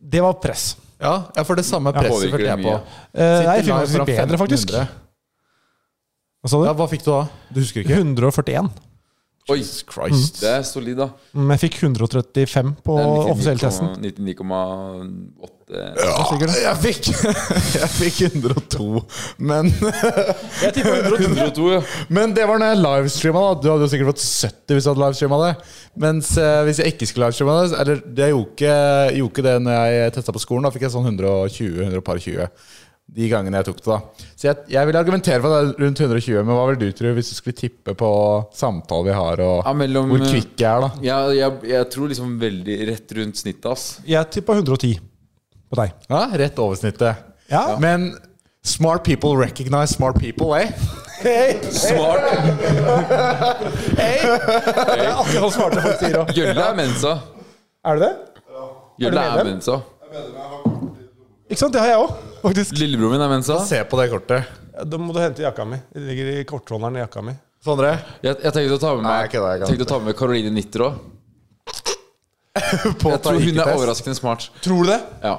S5: Det var press.
S3: Ja, jeg får det samme presset.
S4: påvirker
S3: følte jeg
S4: det
S3: på.
S4: mye.
S5: Eh, nei, jeg fikk
S3: live
S5: faktisk
S3: fra
S5: bedre, faktisk.
S3: 1500.
S5: Hva sa
S3: Ja,
S5: du?
S3: hva fikk du da? Du husker ikke?
S5: 141.
S4: Oi,
S3: Christ.
S4: det er solid, da.
S5: Men jeg fikk 135 på
S4: Det er 99,8.
S5: offisiell testen.
S4: 99,8
S3: Jeg fikk, jeg fikk 102, men,
S4: 102, ja.
S3: men det var når jeg livestreama. da. Du hadde jo sikkert fått 70 hvis du hadde livestreama det. Mens eh, hvis jeg ikke skulle livestreama det Eller det gjorde ikke, gjorde ikke det når jeg testa på skolen. Da fikk jeg sånn 120-120 de gangene jeg tok det. da Så jeg, jeg vil argumentere for at det er rundt 120, men hva vil du tro hvis du skulle tippe på samtaler vi har, og
S4: Ja, mellom-
S3: hvor kvikk jeg er, da?
S4: Jeg, jeg, jeg tror liksom veldig rett rundt snittet, ass.
S5: Jeg tippa 110 på deg.
S3: Ja, Rett over snittet.
S5: Ja.
S3: Men smart people recognize smart people, eh?
S4: Smart!
S5: Han svarte folk sier òg.
S4: Gjølle er mensa.
S5: Er det det?
S4: Gjølle
S5: medlem?
S4: er mensa.
S5: Ikke sant? Det har jeg òg, faktisk.
S4: Lillebroren min er mensa.
S3: Se på det kortet.
S5: Da må du hente jakka mi. Det ligger i kortholderen i jakka mi.
S3: Sondre?
S4: Jeg, jeg tenkte å ta med
S3: Nei,
S4: meg
S3: ikke det, jeg kan
S4: Tenkte å
S3: ikke.
S4: ta med Caroline Nitter òg.
S3: På
S4: Jeg tror hun er overraskende smart.
S5: Tror du det?
S4: Ja.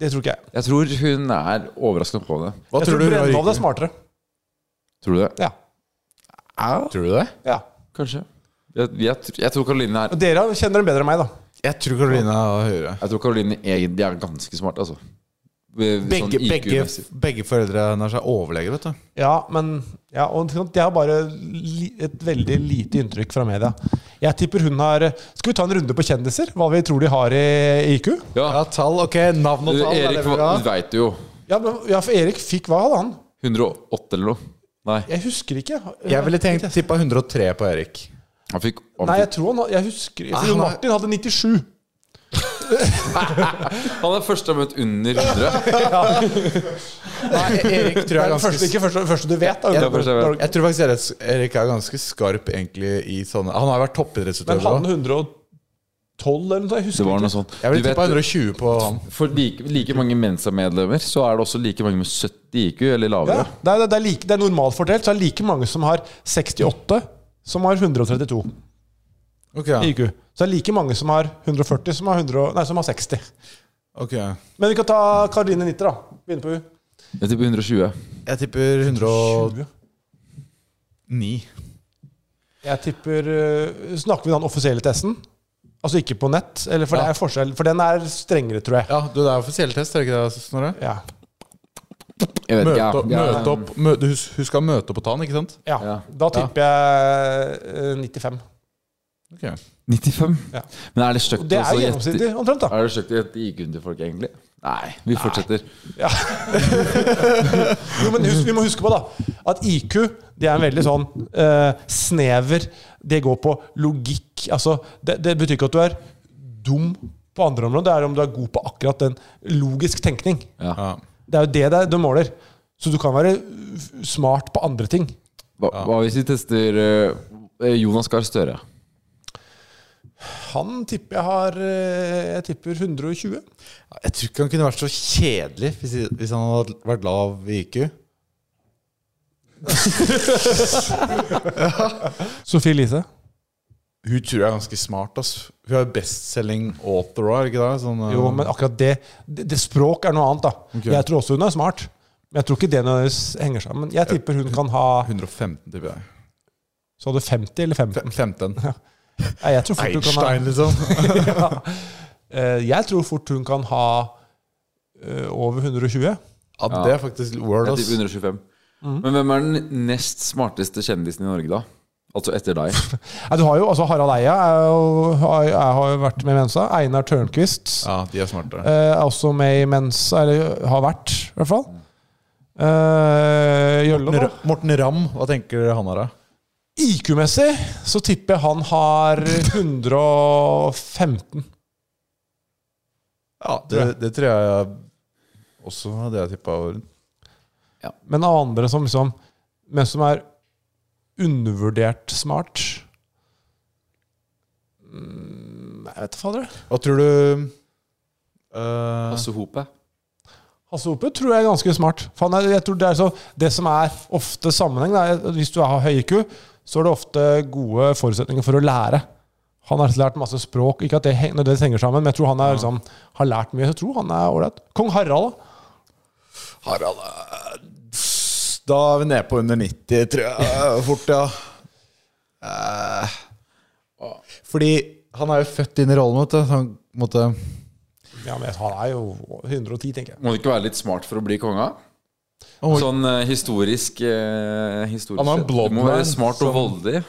S5: Det tror ikke jeg.
S4: Jeg tror hun er overraskende på det.
S3: Hva
S5: Jeg
S3: hun
S5: tror,
S3: har
S5: Brennvold
S3: IQ?
S5: er smartere.
S4: Tror du det?
S5: Ja.
S3: Tror du det?
S5: ja.
S4: Kanskje. Jeg, jeg, tr- jeg tror Caroline er
S5: Og Dere kjenner dem bedre enn meg, da.
S3: Jeg tror Karoline er høyere.
S4: Jeg tror Caroline egentlig er ganske smart, altså. Ved- sånn
S3: Begge, begge,
S4: IQ-messig.
S3: begge foreldre hennes er overleger, vet du.
S5: Ja, men ja, og ikke sant, Jeg har bare li, et veldig lite inntrykk fra media. Jeg tipper hun har Skal vi ta en runde på kjendiser? Hva vi tror de har i IQ?
S3: Ja,
S4: Ja.
S3: tall, ok, Navn og
S4: Du,
S3: tall. er det
S4: Erik
S3: bra?
S4: veit jo.
S5: Ja, men, ja for Erik fikk hva hadde han?
S4: 108 eller noe. Nei,
S5: Jeg husker ikke.
S3: Jeg ville tenkt tippa 103 på Erik.
S4: han fikk han,
S5: Nei, jeg
S4: fikk-
S5: tror han Jeg husker For
S3: han
S5: Jon
S3: har-
S5: Martin hadde 97.
S4: han er første jeg har møtt under 100.
S3: Nei, Erik tror jeg
S5: Det er
S3: er
S5: det første,
S3: ganske
S5: ikke første, første du vet. Da,
S4: Ja, det er første jeg vet.
S3: jeg tror faktisk Erik- Erik er ganske skarp egentlig i sånne Han har vært
S5: Men
S3: toppidrettsutøver
S5: hadde han
S3: òg.
S5: 112 eller noe? Jeg
S4: Det
S5: husker
S4: var
S5: ikke.
S4: noe sånt.
S3: Jeg
S4: Du
S3: ville tippa
S4: vet,
S3: 120 på han.
S4: for like, like mange Mensa-medlemmer, så er det også like mange med 70 IQ eller
S5: Ja,
S4: lavere.
S5: det, er, det, er like, det er normalt fordelt. Så er det like mange som har 68, som har 132
S3: Ok, ja.
S5: i IQ. Så er det like mange som har 140, som har, 100, og- nei, som har 60.
S3: Ok.
S5: Men vi kan ta Karoline Nitter, da. Begynne på hun.
S4: Jeg tipper 120.
S3: Jeg tipper 109.
S5: Jeg tipper øh, Snakker vi da om den offisielle testen? Altså ikke på nett? Eller for
S3: Ja.
S5: det er forskjell. For den er strengere, tror jeg.
S3: Ja, du, det er offisiell test, er det ikke det, Snorre?
S5: Ja.
S4: Jeg vet
S3: Møte
S4: ikke,
S3: opp,
S4: jeg- jeg-
S3: møte opp mø, Du hus- husker å møte opp og ta den, ikke sant?
S5: ja.
S4: Ja.
S5: Da tipper jeg øh, 95.
S3: Ok.
S4: 95?
S5: Ja.
S4: Men er det stygt
S5: Og det er
S4: også å
S5: jo
S4: gjette-
S5: gjennomsnittlig, omtrent. da
S4: Er det stygt å gjette IQ-en til folk, egentlig? Nei, vi fortsetter.
S5: Jo, men husk, vi må huske på da at IQ det er en veldig sånn eh, snever Det går på logikk. Altså, det, det betyr ikke at du er dum på andre områder. Det er om du er god på akkurat den logisk tenkning.
S3: Ja.
S5: Det er jo det det er- du måler. Så du kan være smart på andre ting.
S4: Hva, hva hvis vi tester eh, Jonas Gahr Støre?
S5: Han tipper jeg har eh, Jeg tipper 120.
S3: Jeg tror ikke han kunne vært så kjedelig hvis, hvis han hadde vært lav i IQ.
S5: Sophie Elise.
S3: Hun tror jeg er ganske smart. ass Hun er bestselging author, er ikke det? Sånn, eh,
S5: Jo, men akkurat det, det Det språk er noe annet, da.
S3: Ok.
S5: Jeg tror også hun er smart. Men jeg tror ikke det nødvendigvis henger sammen. Jeg tipper hun kan ha
S3: 115, tipper jeg.
S5: Så hadde 50 eller 15?
S3: Fem- 15.
S5: Nei, jeg tror fort hun kan ha
S3: Einstein, liksom.
S5: ja. Eh, Jeg tror fort hun kan ha eh, over 120.
S3: Ja, det er faktisk word,
S4: Jeg
S3: ass.
S4: tipper 125. Men hvem er den nest smarteste kjendisen i Norge, da? Altså etter deg.
S5: Nei, du har jo, altså Harald Eia er jo, har, er, har jo vært med i Mensa. Einar Tørnquist
S3: Ja, de er smarte.
S5: eh, er også med i Mensa, eller har vært, i hvert fall. Eh, Jølle,
S3: Morten,
S5: da.
S3: Ra- Morten Ramm, hva tenker dere han har, da?
S5: IQ-messig så tipper jeg han har 115.
S3: Ja, det, det tror jeg også hadde jeg tippa over.
S5: Men av andre som liksom Men som er undervurdert smart Mm, Jeg vet da fader.
S3: Hva tror du eh,
S4: Hasse Hope.
S5: Hasse Hope tror jeg er ganske smart. For han er, jeg tror det, er så, det som er ofte sammenheng, det er, at hvis du har høy IQ, så er det ofte gode forutsetninger for å lære. Han har lært masse språk. Ikke at det heng- nødvendigvis henger sammen, men jeg tror han er, liksom, har lært mye. Så jeg tror han er ålreit. Kong Harald, da.
S3: Harald eh, Da er vi nede på under 90, tror jeg. Fort, ja. Eh, Fordi han er jo født inn i rollen, vet du. Så han måtte
S5: Ja, men han er jo 110, tenker jeg.
S4: Må du ikke være litt smart for å bli konga?
S3: Oi.
S4: Sånn eh, historisk, eh, historisk
S3: Han er en
S4: sett.
S3: blond
S4: Du må
S3: man,
S4: være smart og
S3: som-
S4: voldelig.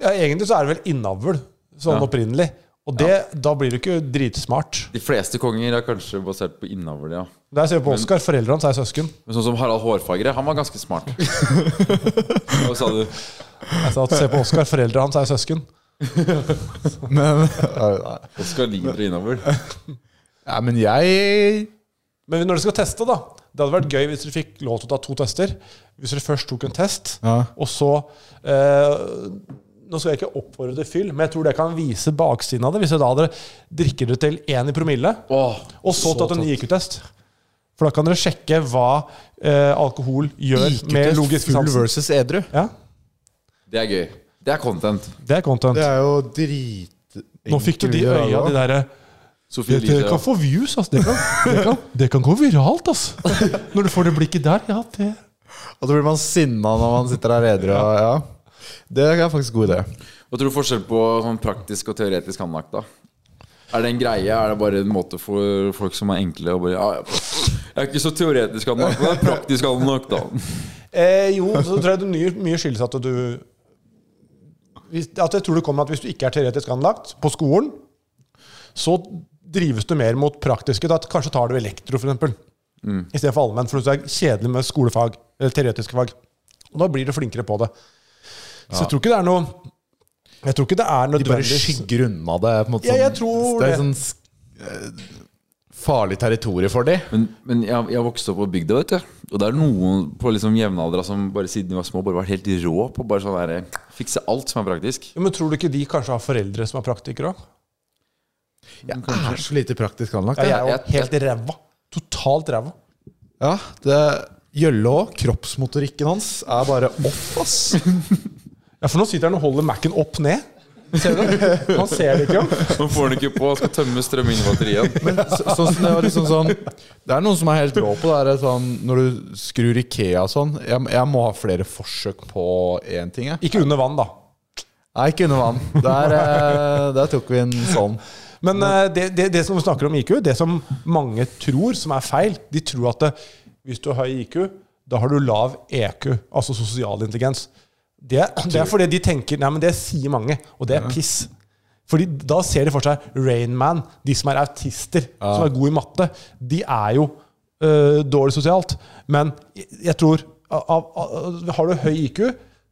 S5: Ja, egentlig så er det vel innavl, sånn
S4: Ja.
S5: opprinnelig. Og det, da blir du ikke dritsmart.
S4: De fleste konger er kanskje basert på innavl, ja.
S5: Der ser vi på Oskar. Foreldrene hans er søsken.
S4: Men sånn som Harald Hårfagre, han var ganske smart. Hva sa du?
S5: Jeg sa at se på Oskar. Foreldrene hans er søsken.
S3: Men, Nei,
S4: Oskar Linder og innavl.
S3: nei, men jeg
S5: Men når dere skal teste, da Det hadde vært gøy hvis dere fikk lov til å ta to tester. Hvis dere først tok en test,
S3: Ja.
S5: og så eh, Nå skal jeg ikke oppfordre til fyll, men jeg tror det kan vise baksiden av det. Hvis dere da hadde drikker dere til én i promille,
S4: Åh,
S5: og så tatt en IQ-test. For da kan dere sjekke hva eh, alkohol gjør med logisk
S3: full
S5: sans.
S3: versus edru.
S5: Ja,
S4: det er gøy. Det er content.
S5: det er content.
S3: Det er jo drit...
S5: Nå fikk du de øya, de derre
S4: Sofie
S5: Det
S4: Elise.
S5: kan få views, ass. Det kan, det kan, det kan gå viralt, ass. Når du får det blikket der. Ja, det
S3: Og så blir man sinna når man sitter der edru. og- Ja. Det er faktisk god idé.
S4: Hva tror du forskjell på sånn praktisk og teoretisk anlagt, da? Er det en greie? Er det bare en måte for folk som er enkle og bare ja, ja. Jeg er ikke så teoretisk anlagt, men jeg er praktisk anlagt, da.
S5: Eh, jo, så tror jeg det mye, mye skyldes at du hvis, At jeg tror det kommer at hvis du ikke er teoretisk anlagt på skolen, så drives du mer mot praktiske. Da, kanskje tar du elektro, for eksempel. Istedenfor allmenn, for det er kjedelig med skolefag. Eller teoretiske fag. Og da blir du flinkere på det. Så jeg tror ikke det er noe Jeg tror ikke det er
S3: De bare
S5: nødvendig
S3: skygger unna det. På en måte,
S5: Ja,
S3: sånn-
S5: jeg tror
S3: det er
S5: det.
S3: sånn sk- eh, farlig territorium for de.
S4: Men, men jeg, jeg vokste opp på bygda, vet du. Og det er noen på liksom jevnaldra som bare siden de var små, bare var helt rå på bare sånn der, fikse alt som er praktisk.
S5: Jo, Men tror du ikke de kanskje har foreldre som er praktikere òg?
S3: Jeg er så lite praktisk anlagt.
S5: Ja, jeg
S3: jeg.
S5: er jo
S4: jeg-
S5: helt ræva. Totalt ræva.
S3: Ja, det Gjølle òg. Kroppsmotorikken hans er bare off, ass.
S5: Ja, for nå sitter han og holder Mac-en opp ned. Ser du det? Man ser det ikke, jo.
S4: Nå får den ikke på, skal tømme strøm inn i batteriet.
S3: Så, sånn som det, var liksom sånn, det er noen som er helt rå på det. her, Sånn, når du skrur Ikea og sånn jeg, jeg må ha flere forsøk på én ting. Jeg.
S5: Ikke under vann, da.
S3: Nei, ikke under vann. Der, eh, der tok vi en sånn.
S5: Men eh, det, det, det som vi snakker om IQ, det som mange tror som er feil, de tror at det, hvis du har høy IQ, da har du lav EQ, altså sosial intelligens. Det, det er fordi de tenker Nei, men det sier mange, og det er piss. Fordi da ser de for seg Rainman, de som er autister, som er gode i matte. De er jo øh, dårlig sosialt. Men jeg, jeg tror av, av, av- Har du høy IQ,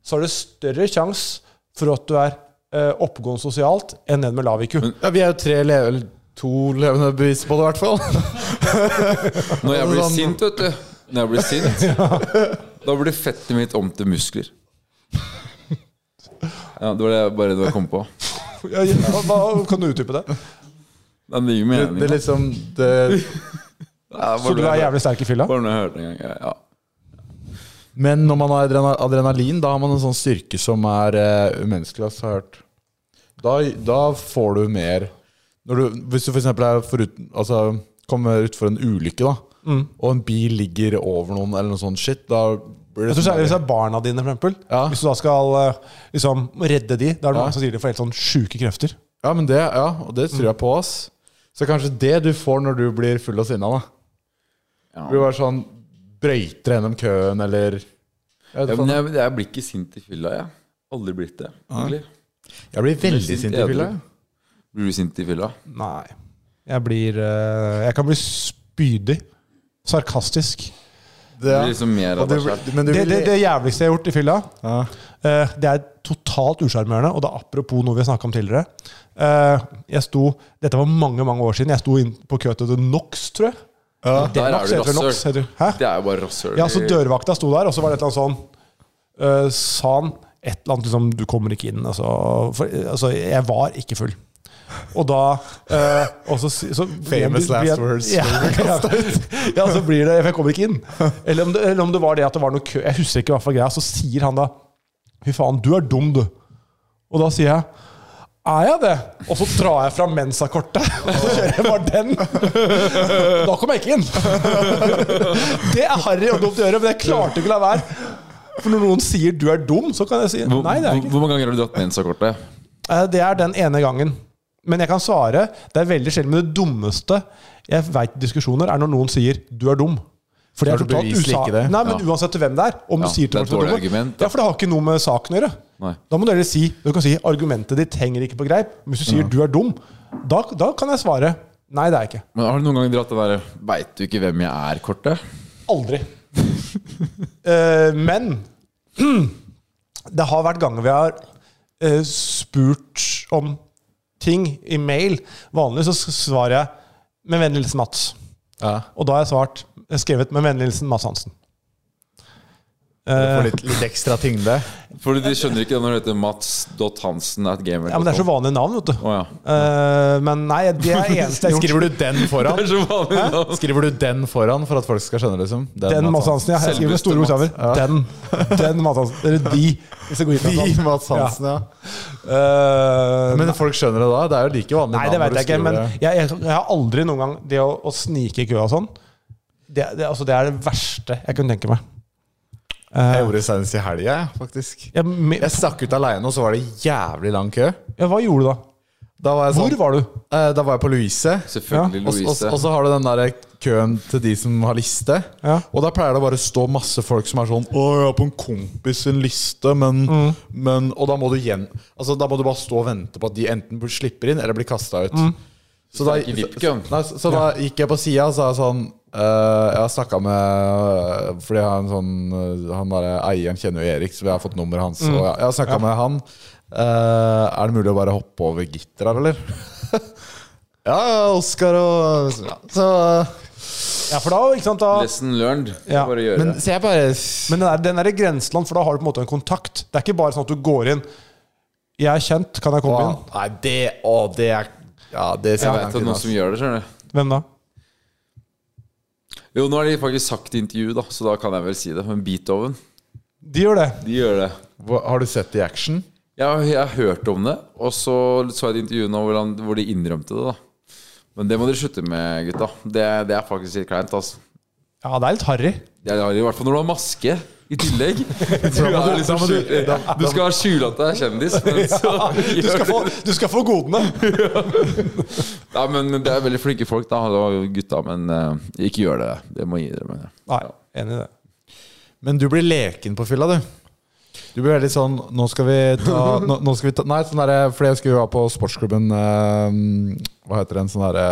S5: så har du større sjanse for at du er øh, oppegående sosialt enn en med lav IQ.
S3: Ja, vi er jo tre leve, eller to levende bevis på det, i hvert fall.
S4: Når jeg blir sint, vet du Når jeg blir sint Da blir fettet mitt om til muskler. Ja, Det var det jeg bare det jeg kom på.
S5: Ja, ja, hva, hva, kan du utdype det?
S4: Det er mye
S3: Det,
S4: mening.
S3: det er liksom det,
S5: Så du er jævlig sterk i fylla?
S4: Bare når jeg hørte det en gang. Ja.
S3: Men når man har adrena- adrenalin, da har man en sånn styrke som er eh, umenneskelig, altså, har jeg hørt. Da, da får du mer når du, Hvis du f.eks. For forut, altså, kommer utfor en ulykke, da,
S5: Mm.
S3: og en bil ligger over noen, eller noe sånt shit, da blir det
S5: Jeg tror særlig Hvis det
S3: sånn
S5: er barna dine, for eksempel.
S3: Ja.
S5: Hvis du da skal eh, liksom, redde de, da
S3: Ja.
S5: er det mange som sier de får helt sånn sjuke krefter.
S3: Ja, men det, ja, og det
S5: Mm.
S3: tror jeg på, ass. Så kanskje det du får når du blir full av sinna, da.
S4: Ja.
S3: Du blir bare sånn Brøyter gjennom køen, eller jeg,
S4: Ja,
S3: vet faen.
S4: men jeg, jeg blir ikke sint i fylla, jeg. Aldri blitt det. egentlig.
S3: jeg blir veldig
S4: sint
S3: sint i fylla.
S4: edru. Blir du sint i fylla?
S5: Nei. Jeg blir eh, Jeg kan bli spydig. Sarkastisk.
S3: Det,
S4: Blir liksom mer av
S3: Og
S4: deg
S3: du-
S4: selv.
S3: men du
S5: Det,
S3: vil-
S5: det, det jævligste jeg har gjort i fylla,
S3: Ja.
S5: eh, det er totalt usjarmerende. Og det er apropos noe vi har snakka om tidligere. Eh, jeg sto, Dette var mange mange år siden. Jeg sto inn på kø til The Nox, tror jeg.
S3: Ja.
S5: Det er
S4: Der er
S5: Nox,
S4: du
S5: heter det Nox,
S4: rasshøl.
S5: heter det. Hæ?
S4: Det er jo bare rasshøl.
S5: Ja, så dørvakta sto der, og så var det et eller annet sånn øh, Sa han et eller annet liksom 'Du kommer ikke inn', altså. For, øh, altså jeg var ikke full. Og da øh, og så, si- så
S3: Famous last words.
S5: Ja, ja, ja, så blir det 'Jeg kommer ikke inn'. Eller om det, eller om det var det at det var noe kø. Jeg husker ikke hva for greia. Så sier han da 'Fy faen, du er dum, du'. Og da sier jeg er jeg det? Og så drar jeg fra Mensa-kortet. Og så kjører jeg bare den. Da kom jeg ikke inn. Det er harry og dumt å gjøre, men jeg klarte ikke å la være. For når noen sier 'du er dum', så kan jeg si
S4: Hvor,
S5: 'nei, det er
S4: hvor,
S5: jeg ikke'.
S4: hvor mange ganger har du dratt mensakortet?
S5: Eh, Det er den ene gangen. Men jeg kan svare. Det er veldig sjelden. Men det dummeste jeg veit i diskusjoner, er når noen sier 'du er dum'. For det
S3: Når
S5: er
S3: du
S5: totalt
S3: beviselig
S5: usa...
S3: ikke det.
S5: Nei, men
S4: Ja.
S5: Uansett hvem det er. Om
S4: Ja,
S5: du sier til
S4: det er et
S5: folk som er
S4: dårlig
S5: dumme.
S4: argument, da.
S5: Ja, for det har ikke noe med saken å gjøre.
S4: Nei.
S5: Da må du heller si Du kan si argumentet ditt henger ikke på greip. Men Hvis du sier 'du er dum', da, da kan jeg svare 'nei, det er jeg ikke'.
S4: Men Har du noen gang dratt det derre 'veit du ikke hvem jeg er'-kortet?
S5: Aldri. Eh, men det har vært ganger vi har eh, spurt om ting i mail. Vanlig så s- svarer jeg 'med vennlig hilsen Mats'.
S3: Ja.
S5: Og da har jeg svart, eh, skrevet 'med vennlig hilsen Mats Hansen'.
S3: Får
S5: Eh,
S3: litt, litt ekstra tyngde.
S4: Fordi de skjønner ikke det når det heter mats.hansen at gamer.
S5: ja, men det er så vanlige navn, vet du.
S4: Å ja.
S5: Eh, men nei, det er det eneste jeg har gjort.
S3: Skriver du den
S4: Det
S3: foran?
S4: er så vanlig navn.
S3: Skriver du den foran for at folk skal skjønne det som
S5: Den Mads Hansen, ja. Jeg skriver med store bokstaver. Den. Den Mads Hansen. Eller de, hvis det går inn
S3: De
S5: i
S3: Mads Hansen, ja.
S5: Uh,
S3: Men folk skjønner det da? Det er jo like vanlig.
S5: Nei,
S3: navn
S5: det
S3: når
S5: veit
S3: du
S5: jeg ikke. Men
S3: skriver
S5: jeg, jeg, jeg har aldri noen gang Det å, å snike i køa og sånn, det, det, altså, det er det verste jeg kunne tenke meg.
S3: det.
S5: Eh,
S3: Jeg gjorde det senest i helga, jeg, faktisk.
S5: jeg, me,
S3: Jeg stakk ut aleine, og så var det jævlig lang kø.
S5: ja, hva gjorde du da?
S3: Da var jeg, sånn,
S5: Hvor var du?
S3: Eh, da var jeg på Louise.
S4: Selvfølgelig
S3: Og, og,
S4: Louise.
S3: og så har du den der køen til de som har liste.
S5: Ja.
S3: Og da pleier det bare å stå masse folk som er sånn 'Å, jeg har på en kompis sin liste', men, men Og da må du igjen Altså da må du bare stå og vente på at de enten slipper inn eller blir kasta ut. Så, da,
S4: Det er ikke
S3: så,
S4: VIP-køen.
S3: nei, så, så da gikk jeg på sida og sa sånn eh, Jeg har snakka med eh, Fordi jeg har en sånn eh, Han der, eieren kjenner jo Erik, så vi har fått nummeret hans.
S5: Mm.
S3: Og jeg, jeg har snakka med han. Eh, er det mulig å bare hoppe over gitter her, eller? ja, Oskar og ja, Så eh,
S5: Ja, for da, ikke sant, da
S4: Lesson learned.
S5: Ja,
S4: Bare gjøre
S3: Men
S4: det.
S3: så jeg bare
S5: Men den er, den er i grenseland, for da har du på en måte en kontakt. Det er ikke bare sånn at du går inn 'Jeg er kjent, kan jeg komme
S3: Å, Nei, det Å, det er Ja, det
S4: Jeg
S3: ser
S4: vet at noen som gjør det, skjønner du.
S5: inn?' Hvem da?
S4: Jo, nå har de faktisk sagt i intervju, da, så da kan jeg vel si det. Men Beethoven,
S5: De gjør det.
S4: de gjør det.
S3: Har du sett det i action?
S4: Jeg, jeg har hørt om det, og så så jeg et intervju nå hvor, han, hvor de innrømte det. da Men det må dere slutte med, gutta. Det, det er faktisk litt kleint. altså
S5: Ja, det er litt harry.
S4: Jeg har I hvert fall når du har maske i tillegg. Du, har liksom skjul- du skal skjule at du er kjendis. Men så,
S5: Du skal få, du skal få godene!
S4: Nei, men Det er veldig flinke folk, da, og gutta. Men eh, ikke gjør det. Det må jeg innrømme.
S5: Nei, enig i det.
S3: Men du blir leken på fylla, du. Du blir veldig sånn Nå skal vi ta, nå, nå skal vi ta Nei, sånn derre Fordi jeg skulle jo ha på sportsklubben eh, Hva heter det? En sånn derre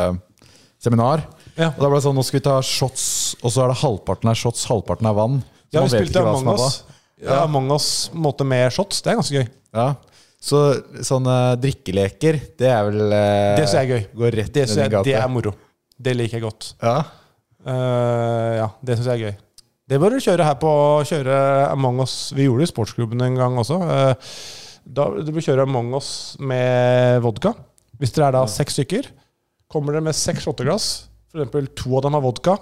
S3: seminar.
S5: Ja.
S3: Og da ble det sånn Nå skal vi ta shots, og så er det halvparten er shots, halvparten er vann. Så
S5: Ja,
S3: man
S5: vi
S3: vet
S5: spilte
S3: ikke hva som
S5: Among
S3: er hva.
S5: Us. Ja, Among Us på en måte med shots. Det er ganske gøy.
S3: Ja. Så sånne drikkeleker, det er vel eh,
S5: Det synes jeg er gøy.
S3: Går rett
S5: Det,
S3: ned
S5: synes
S3: i
S5: jeg,
S3: gata.
S5: det er moro. Det liker jeg godt.
S3: ja.
S5: Eh, ja, det syns jeg er gøy. Det bør du kjøre her på kjøre Among us. Vi gjorde det i sportsklubben en gang også. Eh, da, du bør kjøre Among us med vodka. Hvis dere er da seks stykker, kommer dere med seks shotteglass. F.eks. to av dem har vodka,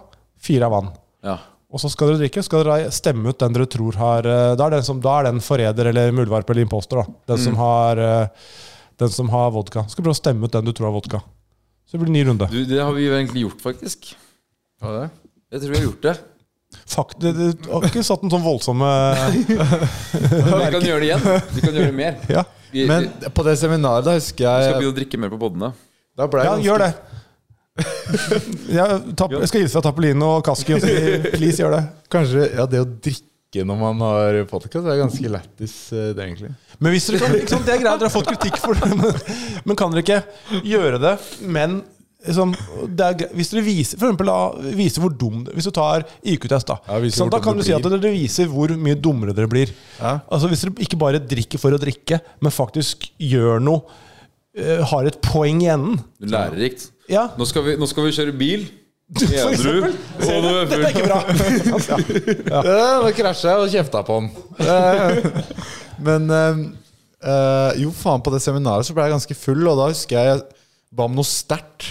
S5: fire av vann.
S4: Ja.
S5: Og så skal dere drikke, skal dere stemme ut den dere tror har eh, Da er den, som, da er den forræder eller muldvarp eller imposter, da. Den, som har, eh, den som har vodka. Skal prøve å stemme ut den du tror har vodka. Så blir det ny runde.
S4: Du, det har vi jo egentlig gjort, faktisk.
S3: Hva er det?
S4: Jeg tror vi har gjort det.
S5: Fuck, det, det du har ikke satt en sånn voldsomme
S4: Men vi kan gjøre det igjen. Vi kan gjøre det mer.
S5: Ja, eh,
S4: Vi,
S3: Men
S4: vi
S3: på det seminaret, da husker
S4: skal
S3: jeg
S4: begynne å drikke mer på podene.
S3: Da ble
S5: ja
S3: jeg
S5: gjør det. Jeg, tapp, jeg skal hilse fra Tappelino og Kaski og si please, gjør det.
S3: Kanskje ja, det å drikke når man har podkast, er ganske lættis, eh, det, egentlig.
S5: Men hvis dere kan, ikke sant, det er greit, dere har fått kritikk for det, men, men kan dere ikke gjøre det? Men liksom, det er greit. hvis dere viser for eksempel, da, viser hvor dum Hvis du tar IQ-test, da,
S3: Ja, viser
S5: ikke sant,
S3: hvor
S5: da
S3: dum
S5: kan
S3: du
S5: du si at
S3: blir.
S5: dere viser hvor mye dummere dere blir.
S3: Ja.
S5: Altså Hvis dere ikke bare drikker for å drikke, men faktisk gjør noe, eh, har et poeng i enden.
S4: Lærerikt.
S5: Ja,
S4: Nå skal vi, nå skal vi kjøre bil.
S5: for
S4: Edru.
S5: eksempel. Ser
S4: Og
S5: du?
S4: nå-
S5: Dette er ikke bra.
S3: Ja, Nå krasja jeg og kjefta på den. Eh, Men eh, eh, jo, faen, på det seminaret så ble jeg ganske full, og da husker jeg jeg ba om noe sterkt.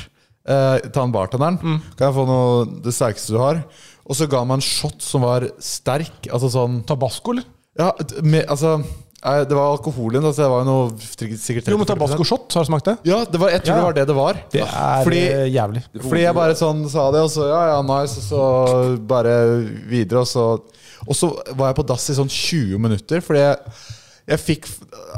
S3: Eh, ta en bartenderen.
S5: Mm.
S3: Kan jeg få noe det sterkeste du har? Og så ga han meg en shot som var sterk. Altså sånn
S5: Tabasco, eller?
S3: Ja, d- med, altså eh, Det var alkoholen, altså. Det var jo noe sikkert
S5: Jo,
S3: 30%.
S5: men tabasco shot, har du smakt det?
S3: Ja, det var, jeg tror
S5: Ja.
S3: det var det det var.
S5: Det er
S3: Fordi-
S5: eh, jævlig.
S3: Fordi jeg bare sånn sa det, og så ja, ja, nice, og så bare videre, og så Og så var jeg på dass i sånn 20 minutter, fordi jeg, jeg fikk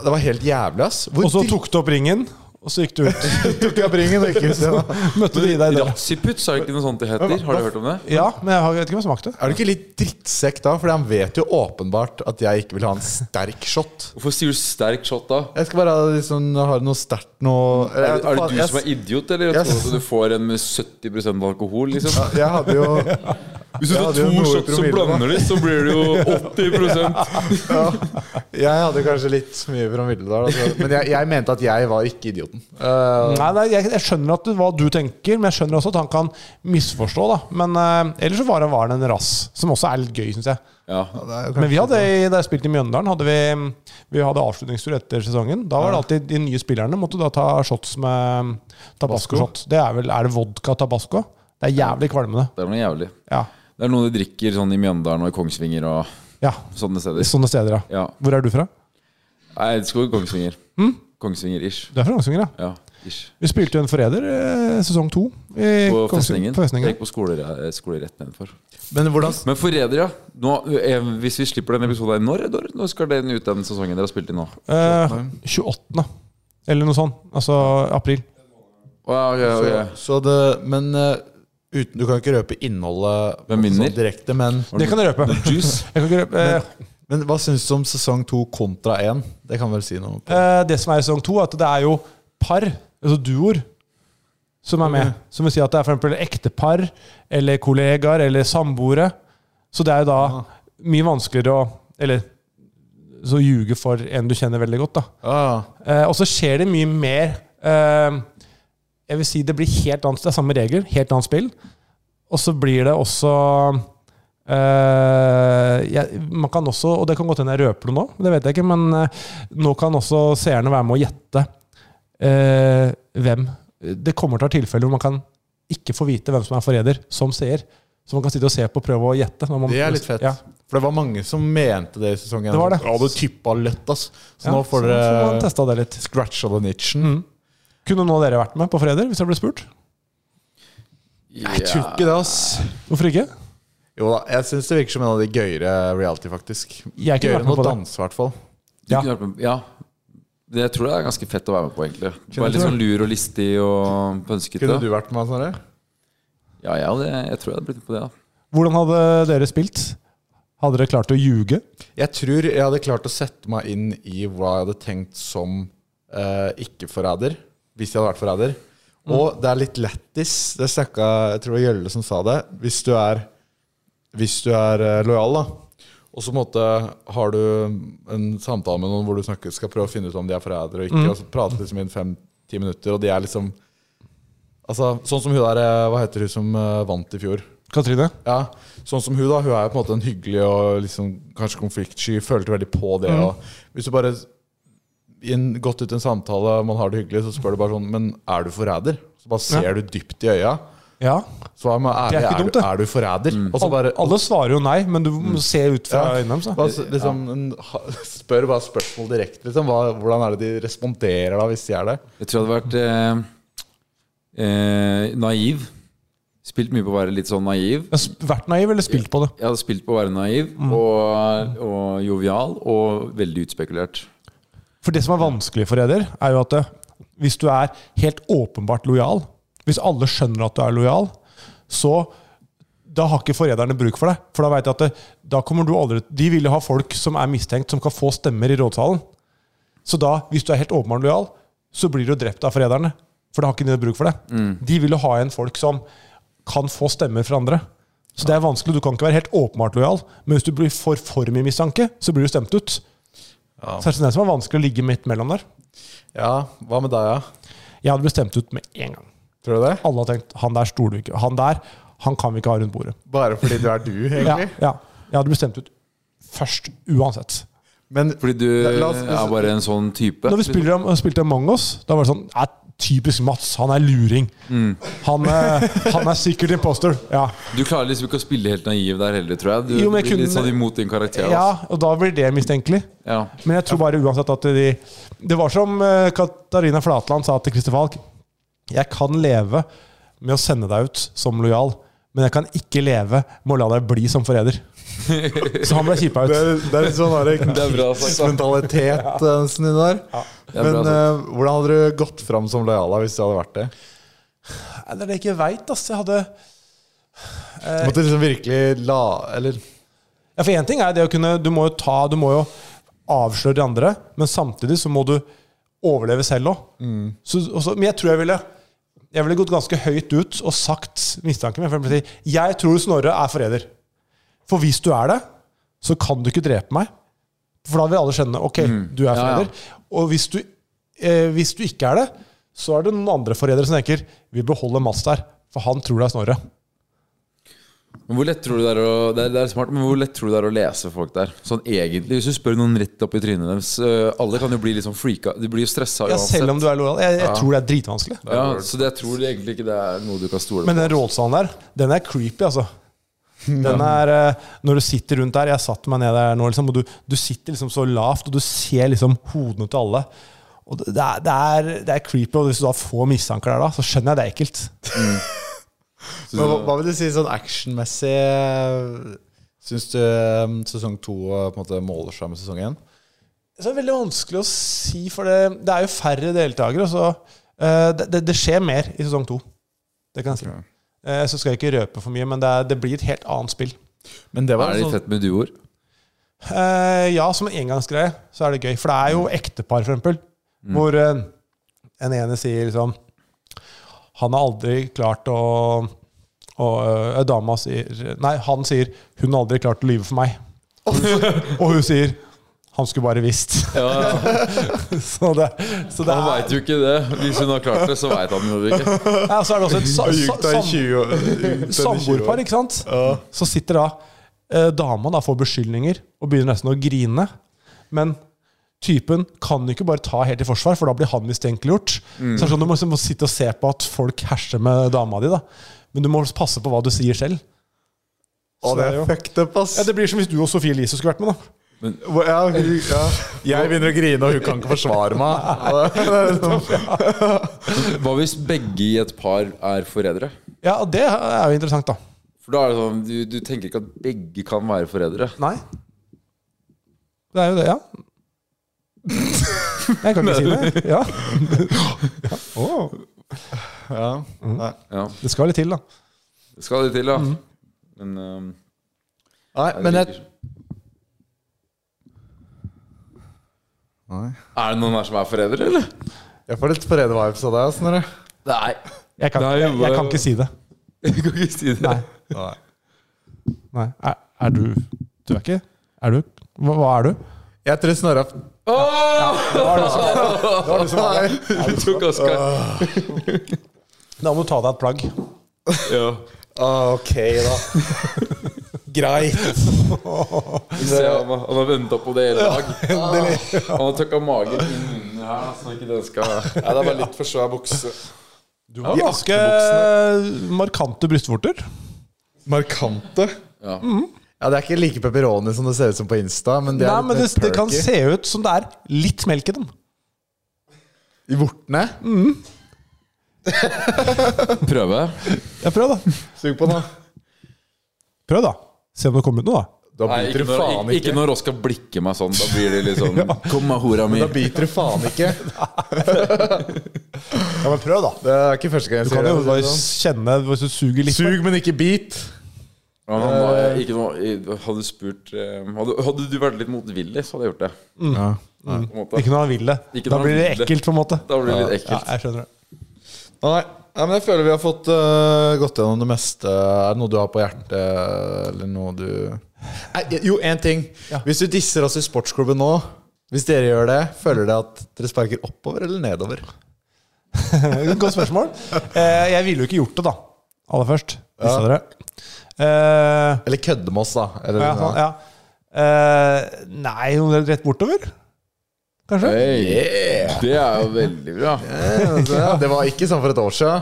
S3: Det var helt jævlig, ass. Hvor
S5: Og så tok du opp ringen, og så gikk du ut.
S3: tok jeg bringen, og ikke så-
S5: Møtte de deg i døra.
S4: Razziputz, er det ikke noe sånt det heter? Har du hørt om det?
S5: Ja, men jeg har- jeg vet ikke om jeg smakte.
S3: Er du ikke litt drittsekk da? Fordi han vet jo åpenbart at jeg ikke vil ha en sterk shot.
S4: Hvorfor sier du sterk shot da?
S3: Jeg skal bare ha liksom, ha noe sterkt noe
S4: Er, det- er det du som er idiot, eller
S3: Jeg-
S4: tror du at du får en med 70 alkohol? liksom?
S3: Ja, jeg hadde jo ja,
S4: Hvis du
S3: Jeg
S4: tar
S3: hadde jo
S4: to
S3: noe
S4: shots og
S3: promille, da.
S4: blander det, så blir det jo 80
S3: Jeg hadde kanskje litt mye promille der, altså. men jeg, jeg mente at jeg var ikke idioten. Eh,
S5: Nei, nei jeg, jeg skjønner at du, hva du tenker, men jeg skjønner også at han kan misforstå. da Men eh, ellers så var han, var han en rass, som også er litt gøy, syns jeg.
S4: Ja,
S3: det er jo
S5: Men vi
S3: kanskje-
S5: hadde, i- da jeg spilte i Mjøndalen, hadde vi, vi hadde avslutningstur etter sesongen. Da var det alltid de nye spillerne måtte da ta shots med tabasco-shot. Det er vel Er det vodka tabasco? Det er jævlig kvalmende.
S4: det er noe jævlig.
S5: Ja.
S4: Det er noe de drikker sånn i Mjøndalen og i Kongsvinger og
S5: ja.
S4: sånne steder.
S5: Sånne steder, ja.
S4: Ja.
S5: Hvor er du fra?
S4: Nei, Jeg elsker Kongsvinger.
S5: Hm?
S4: Kongsvinger-ish.
S5: Du er fra Kongsvinger, ja?
S4: Ja, ish.
S5: Vi spilte jo en forræder eh, sesong to. i
S4: På
S5: Kongsvinger-
S4: festningen.
S5: På festningen.
S4: Jeg gikk på skole, eh, skole rett nedenfor.
S3: Men hvordan
S4: Men forræder, ja. Nå, eh, hvis vi slipper den episoden her, når, når, når skal den ut, den sesongen dere har spilt i nå?
S5: Eh, 28. Eller noe sånt. Altså april.
S4: Å, ja, ok, ok.
S3: Så, så det, men eh, uten, du kan ikke røpe innholdet
S4: Hvem vinner?
S3: sånn direkte, men,
S5: Det kan jeg røpe.
S4: Juice.
S5: Jeg kan ikke røpe. Eh,
S3: men hva syns du om sesong to kontra én? Det kan vel si noe. På.
S5: eh, det som er i sesong to, er at det er jo par, altså duoer, som er med. Som vil si at det er for eksempel ektepar, eller kollegaer, eller samboere. Så det er jo da mye vanskeligere å Eller så ljuge for en du kjenner veldig godt, da.
S3: Ah,
S5: Eh, og så skjer det mye mer eh, Jeg vil si det blir helt annet Det er samme regler, helt annet spill. Og så blir det også eh, jeg, Man kan også Og det kan godt hende jeg røper det nå, det vet jeg ikke, men eh, nå kan også seerne være med å gjette eh, hvem. Det kommer til å være tilfeller hvor man kan ikke få vite hvem som er forræder, som seer. Så man kan sitte og se på og prøve å gjette. Når man,
S3: det er litt fett.
S5: Ja.
S3: For det var mange som mente det i sesongen.
S5: Det var det.
S3: Ja, du tippa lett, ass. Så
S5: Ja,
S3: nå får
S5: så får man
S3: dere
S5: testa det litt.
S3: scratcha den itchen.
S5: Kunne nå dere vært med på Freder, hvis jeg ble spurt?
S3: Jeg tror ikke det, ass.
S5: Hvorfor ikke?
S3: Jo da, jeg syns det virker som en av de gøyere reality, faktisk.
S5: Jeg kunne
S3: Gøyere
S5: vært
S3: enn
S5: med
S3: å
S5: på det.
S3: danse, i hvert fall.
S5: Ja.
S4: Ja. ja. Det- Jeg tror det er ganske fett å være med på, egentlig. Bare
S5: du
S4: litt
S5: det?
S4: sånn lur og listig og pønskete.
S3: Kunne du vært med, Snorre?
S4: Ja, jeg, hadde, jeg tror jeg hadde blitt med på det. da
S5: Hvordan hadde dere spilt? Hadde dere klart å ljuge?
S3: Jeg tror jeg hadde klart å sette meg inn i hva jeg hadde tenkt som eh, ikke-forræder. Hvis jeg hadde vært forræder. Og det er litt lættis. Det snakka jeg tror det var Gjølle som sa det. Hvis du er, hvis du er eh, lojal, da. Og så på en måte har du en samtale med noen hvor du snakker, skal prøve å finne ut om de er forrædere og ikke. Og så prater liksom i fem-ti minutter, og de er liksom Altså, Sånn som hun der eh, Hva heter hun som eh, vant i fjor?
S5: Katrine?
S3: Ja, sånn som hun da, hun er jo på en måte en hyggelig og liksom, kanskje konfliktsky, følte veldig på det.
S5: Mhm.
S3: Og hvis du bare i en, gått ut i en samtale, man har det hyggelig, så spør du bare sånn, men er du forræder? Så bare ser du dypt i øya.
S5: Ja.
S3: Så er, man ærlig,
S5: Det er ikke
S3: er,
S5: dumt,
S3: du,
S5: det. Mm.
S3: er du forræder? Og så bare, Mm.
S5: Alle svarer jo nei, men du må se ut fra
S3: Ja.
S5: øynene deres. da.
S3: bare s- liksom, en- ha- spør bare spørsmål direkte, liksom. Hva, hvordan er det de responderer da, hvis de er det?
S4: Jeg tror jeg hadde vært eh, eh, naiv. Spilt mye på å være litt sånn naiv.
S5: Jeg har sp- Vært naiv eller spilt på det?
S4: Jeg hadde spilt på å være naiv
S5: Mm.
S4: og, og jovial og veldig utspekulert.
S5: For det som er vanskelig for Eder, er jo at eh, hvis du er helt åpenbart lojal, hvis alle skjønner at du er lojal, så da har ikke forræderne bruk for deg. For da vet jeg at det, da kommer du aldri De vil jo ha folk som er mistenkt, som kan få stemmer i rådsalen. Så da, hvis du er helt åpenbart lojal, så blir du jo drept av forræderne. For da har ikke de bruk for deg. De vil jo ha igjen folk som kan få stemmer fra andre. Så det er vanskelig. Du kan ikke være helt åpenbart lojal. Men hvis du blir for for mye mistanke, så blir du stemt ut. Så er det sånn det som er vanskelig å ligge midt mellom der.
S3: Ja, hva med deg, ja?
S5: Jeg hadde blitt stemt ut med en gang.
S3: Tror du det?
S5: Alle hadde tenkt han der stoler vi ikke Han der han kan vi ikke ha rundt bordet.
S3: Bare fordi du er du,
S5: Ja,
S3: egentlig.
S5: ja. Jeg hadde blitt stemt ut først, uansett.
S3: Men
S4: Fordi du
S3: La oss-
S4: er bare en sånn type.
S5: Når vi spiller, om- spilte Among us, da var det sånn "Nei, Typisk Mats, han er luring. Han, eh, han er sikkert imposter. Ja.
S4: Du klarer liksom ikke å spille helt naiv der heller, tror jeg. Du
S5: Jo, men jeg
S4: blir litt
S5: kunne-
S4: sånn imot din karakter. altså.
S5: ja, og da blir det mistenkelig.
S4: Ja.
S5: Men jeg tror bare uansett at de Det var som eh, Katarina Flatland sa til Christer Falk. Jeg kan leve med å sende deg ut som lojal, men jeg kan ikke leve med å la deg bli som forræder. Så han ble kjipa ut.
S3: Det er, det er litt sånn der,
S4: Det er bra sagt, da.
S3: krigsmentalitet eh, nesten inni der.
S4: Det er
S3: Men
S4: bra altså.
S3: eh, hvordan hadde du gått fram som lojal da, hvis det hadde vært det?
S5: Nei, Det er det jeg ikke veit, ass. Jeg hadde
S3: Du måtte liksom virkelig la Eller
S5: Ja, for én ting er det å kunne Du må jo ta Du må jo avsløre de andre, men samtidig så må du overleve selv òg.
S4: Mm.
S5: Men jeg tror jeg ville Jeg ville gått ganske høyt ut og sagt mistanken min. For jeg, ville si, jeg tror Snorre er forræder. For hvis du er det, så kan du ikke drepe meg. For da vil alle skjønne ok, du er
S4: Mm. Ja, ja.
S5: forræder. Og hvis du, eh, hvis du ikke er det, så er det noen andre forrædere som tenker vi beholder Mats der, for han tror det er Snorre.
S4: Men hvor lett tror du det er å det er, det er smart, men hvor lett tror du det er å lese folk der? Sånn egentlig, Hvis du spør noen rett opp i trynet deres øh, Alle kan jo bli litt sånn freaka. De blir jo stressa
S5: Ja,
S4: uansett.
S5: selv om du er lojal. Jeg, jeg tror det er dritvanskelig.
S4: ja, så det, jeg tror egentlig ikke det er noe du kan stole på.
S5: Men den rådsalen der, den er creepy, altså. Den er, eh, når du sitter rundt der Jeg satt meg ned der nå, liksom, og du, du sitter liksom så lavt, og du ser liksom hodene til alle. Og det, det, er, det, er, det er creepy, og hvis du da får mistanker der, da, så skjønner jeg det er ekkelt.
S3: men, hva, hva vil du si sånn actionmessig Syns du eh, sesong to eh, på en måte måler seg med sesong én?
S5: Så det er veldig vanskelig å si, for det, det er jo færre deltakere. og Så, eh, det, det, det skjer mer i sesong to. Det kan jeg si. Eh, så skal jeg ikke røpe for mye, men det, er, det blir et helt annet spill.
S3: Men det var
S4: Er det
S3: sånn,
S4: litt fett med duoer?
S5: Eh, ja, som en engangsgreie så er det gøy. For det er jo
S3: Mm.
S5: ektepar, for eksempel. Hvor eh, en ene sier liksom Han har aldri klart å og eh, dama sier Nei, han sier 'Hun har aldri klart å lyve for meg'. og hun sier 'Han skulle bare visst'.
S4: Ja,
S5: så det, så det
S4: Han
S5: er,
S4: veit jo ikke det. Hvis hun har klart det, så veit han jo det ikke.
S5: ja, så er det også et sa,
S3: Har
S5: sa,
S3: ljugt deg i
S5: sam-
S3: 20 år- ljugt deg i 20 år.
S5: Samboerpar, ikke sant? Så sitter da eh, dama da får beskyldninger og begynner nesten å grine. Men typen kan jo ikke bare ta helt i forsvar, for da blir han mistenkeliggjort.
S6: Mm.
S5: Så det er sånn, Du må, liksom sitte og se på at folk herser med dama di, da. men du må passe på hva du sier selv.
S6: Å, det
S5: det er
S6: er
S5: jo-
S6: fucked up, ass.
S5: Ja, det blir som hvis du og Sofie Elise skulle vært med, da.
S6: Hvor- ja, hun- ja.
S3: Jeg begynner å grine, og hun kan ikke forsvare meg.
S5: sånn.
S4: Hva hvis begge i et par er foreldre?
S5: Ja, og det er jo interessant, da.
S4: For da er det sånn, du, du tenker ikke at begge kan være foreldre.
S5: Nei. Det er jo det, ja. Jeg kan ikke si det. Ja.
S6: ja. Nei.
S4: Ja,
S5: Det skal litt til, da.
S4: det skal det til, da. Men um,
S3: Nei, men jeg,
S6: Nei.
S4: Er det noen her som er foreldre, eller?
S6: Jeg får litt forræder-vibes av deg, Snorre.
S4: Nei.
S5: Jeg kan,
S4: Nei,
S5: jeg, jeg kan
S4: hva-
S5: ikke si det.
S4: Jeg kan ikke si det.
S5: Nei.
S6: Nei.
S5: Nei. Er, er du Du er ikke Er du Hva, hva er du?
S3: jeg tror Snorre har-
S4: Du tok Oskar.
S5: Da må du ta deg et plagg.
S4: Ja.
S6: Ok, da. Greit.
S4: Se, han, har- han har venta på det hele dag. Han har tøkka magen inn under her, så ikke den skal
S6: Nei, det er bare litt for svær bukse.
S5: Du har ganske markante brystvorter.
S6: Markante.
S4: Ja.
S3: Ja, det er ikke like pepperoni som det ser ut som på Insta, men det er
S5: Mm. Nei, men det,
S3: litt mer
S5: det kan
S3: perky.
S5: se ut som det er litt melk i dem.
S3: I vortene.
S5: Mm.
S4: Prøve.
S5: Ja, prøv, da.
S6: Sug på den, da.
S5: Prøv, da. Se om det kommer ut noe, da.
S3: Da
S4: Nei,
S3: biter
S4: ikke
S3: du
S4: når,
S3: faen
S4: ikke, ikke
S3: ikke.
S4: når Oskar blikker meg sånn. Da blir det litt sånn Kom da, hora mi.
S3: Da biter du faen ikke.
S5: Ja, men prøv, da.
S3: Det er ikke første gang jeg
S5: Du kan
S3: sier
S5: jo
S3: det.
S5: bare
S4: sånn.
S5: kjenne hvis du suger litt.
S3: Sug, men ikke bit.
S4: Ja, men han var ikke noe, hadde du spurt eh, hadde, hadde du vært litt motvillig, så hadde jeg gjort det.
S5: Mm.
S3: Ja.
S4: På en måte.
S5: Ikke når han vil det.
S4: Ikke
S5: Da
S4: når han
S5: blir
S4: vil
S5: det
S4: det.
S5: ekkelt, på en måte.
S4: Da blir det litt
S5: Ja,
S4: ekkelt.
S5: jeg skjønner det.
S3: Nei, nei, men jeg føler vi har fått øh, gått gjennom det meste. Er det noe du har på hjertet, eller noe du nei, eh, Jo, én ting. Hvis du disser oss i sportsklubben nå, hvis dere gjør det, føler dere at dere sparker oppover eller nedover?
S5: Godt spørsmål. Eh, jeg ville jo ikke gjort det, da. Aller først. Disse
S3: Ja.
S5: dere. Eh,
S3: Eller kødde med oss, da. Eller,
S5: ja, sånn, ja. Eh, nei, noe rett bortover? Kanskje?
S4: Hey, det er jo veldig bra.
S3: Ja, Det var ikke sånn for et år siden.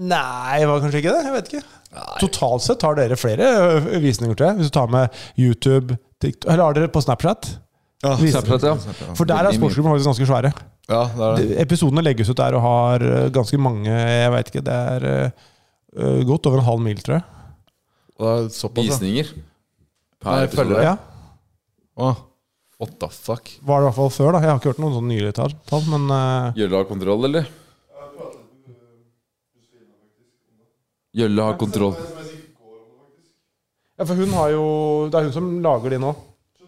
S5: Nei, det var kanskje ikke det. Jeg vet ikke. Totalt sett har dere flere ø, visninger, tror jeg. Hvis du tar med YouTube, TikTok Eller har dere på Snapchat? Visninger.
S4: Snapchat, ja.
S5: sånn, For der er sportsklubben faktisk ganske svære.
S3: Ja, det er det.
S5: Episodene legges ut der og har ø, ganske mange Jeg vet ikke, det er ø, ø, godt over en halv mil, tror jeg.
S3: det er såpass, ja.
S4: Visninger.
S3: Nei,
S4: Per
S3: følger
S4: episode.
S3: det.
S5: Ja,
S3: Åh, What the fuck?
S5: var det i hvert fall før, da. Jeg har ikke hørt noen sånn nyere tall, tall men eh, ø,
S4: Gjølle har kontroll, eller? Gjølle har kontroll.
S5: Ja, for hun har jo Det er hun som lager de nå.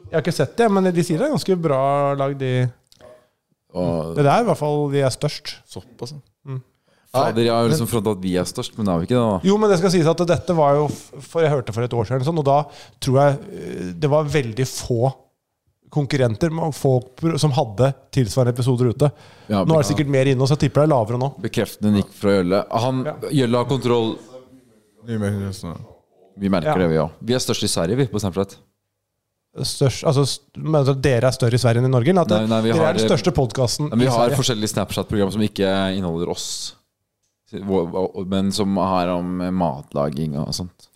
S5: Jeg har ikke sett det, men de sier det er ganske bra lagd, de.
S4: Og,
S5: Det der er i hvert fall de er størst.
S3: Såpass, ja.
S4: fader, jeg har jo liksom frontet at vi er størst, men er vi ikke det, da?
S5: Jo, men det skal sies at dette var jo f- For jeg hørte for et år siden, sånn, og da tror jeg eh, det var veldig få konkurrenter med folk pro- som hadde tilsvarende episoder ute.
S4: Ja,
S5: nå er det sikkert mer inne, så jeg tipper det er lavere nå.
S4: Bekreftende nikk fra Gjølle. Han, Gjølle har kontroll.
S3: Mye mer sånn, ja.
S4: Vi merker
S5: Ja.
S4: det, vi òg. Vi er størst i Sverige, vi, på Snapchat.
S5: Størst, altså, st- men at dere er større i Sverige enn i Norge? Eller at
S4: Nei, nei, vi
S5: dere
S4: har-
S5: er den største podkasten
S4: Men
S5: i
S4: vi har
S5: Sverige?
S4: forskjellige Snapchat-program som ikke inneholder oss, men som har om matlaging og sånt.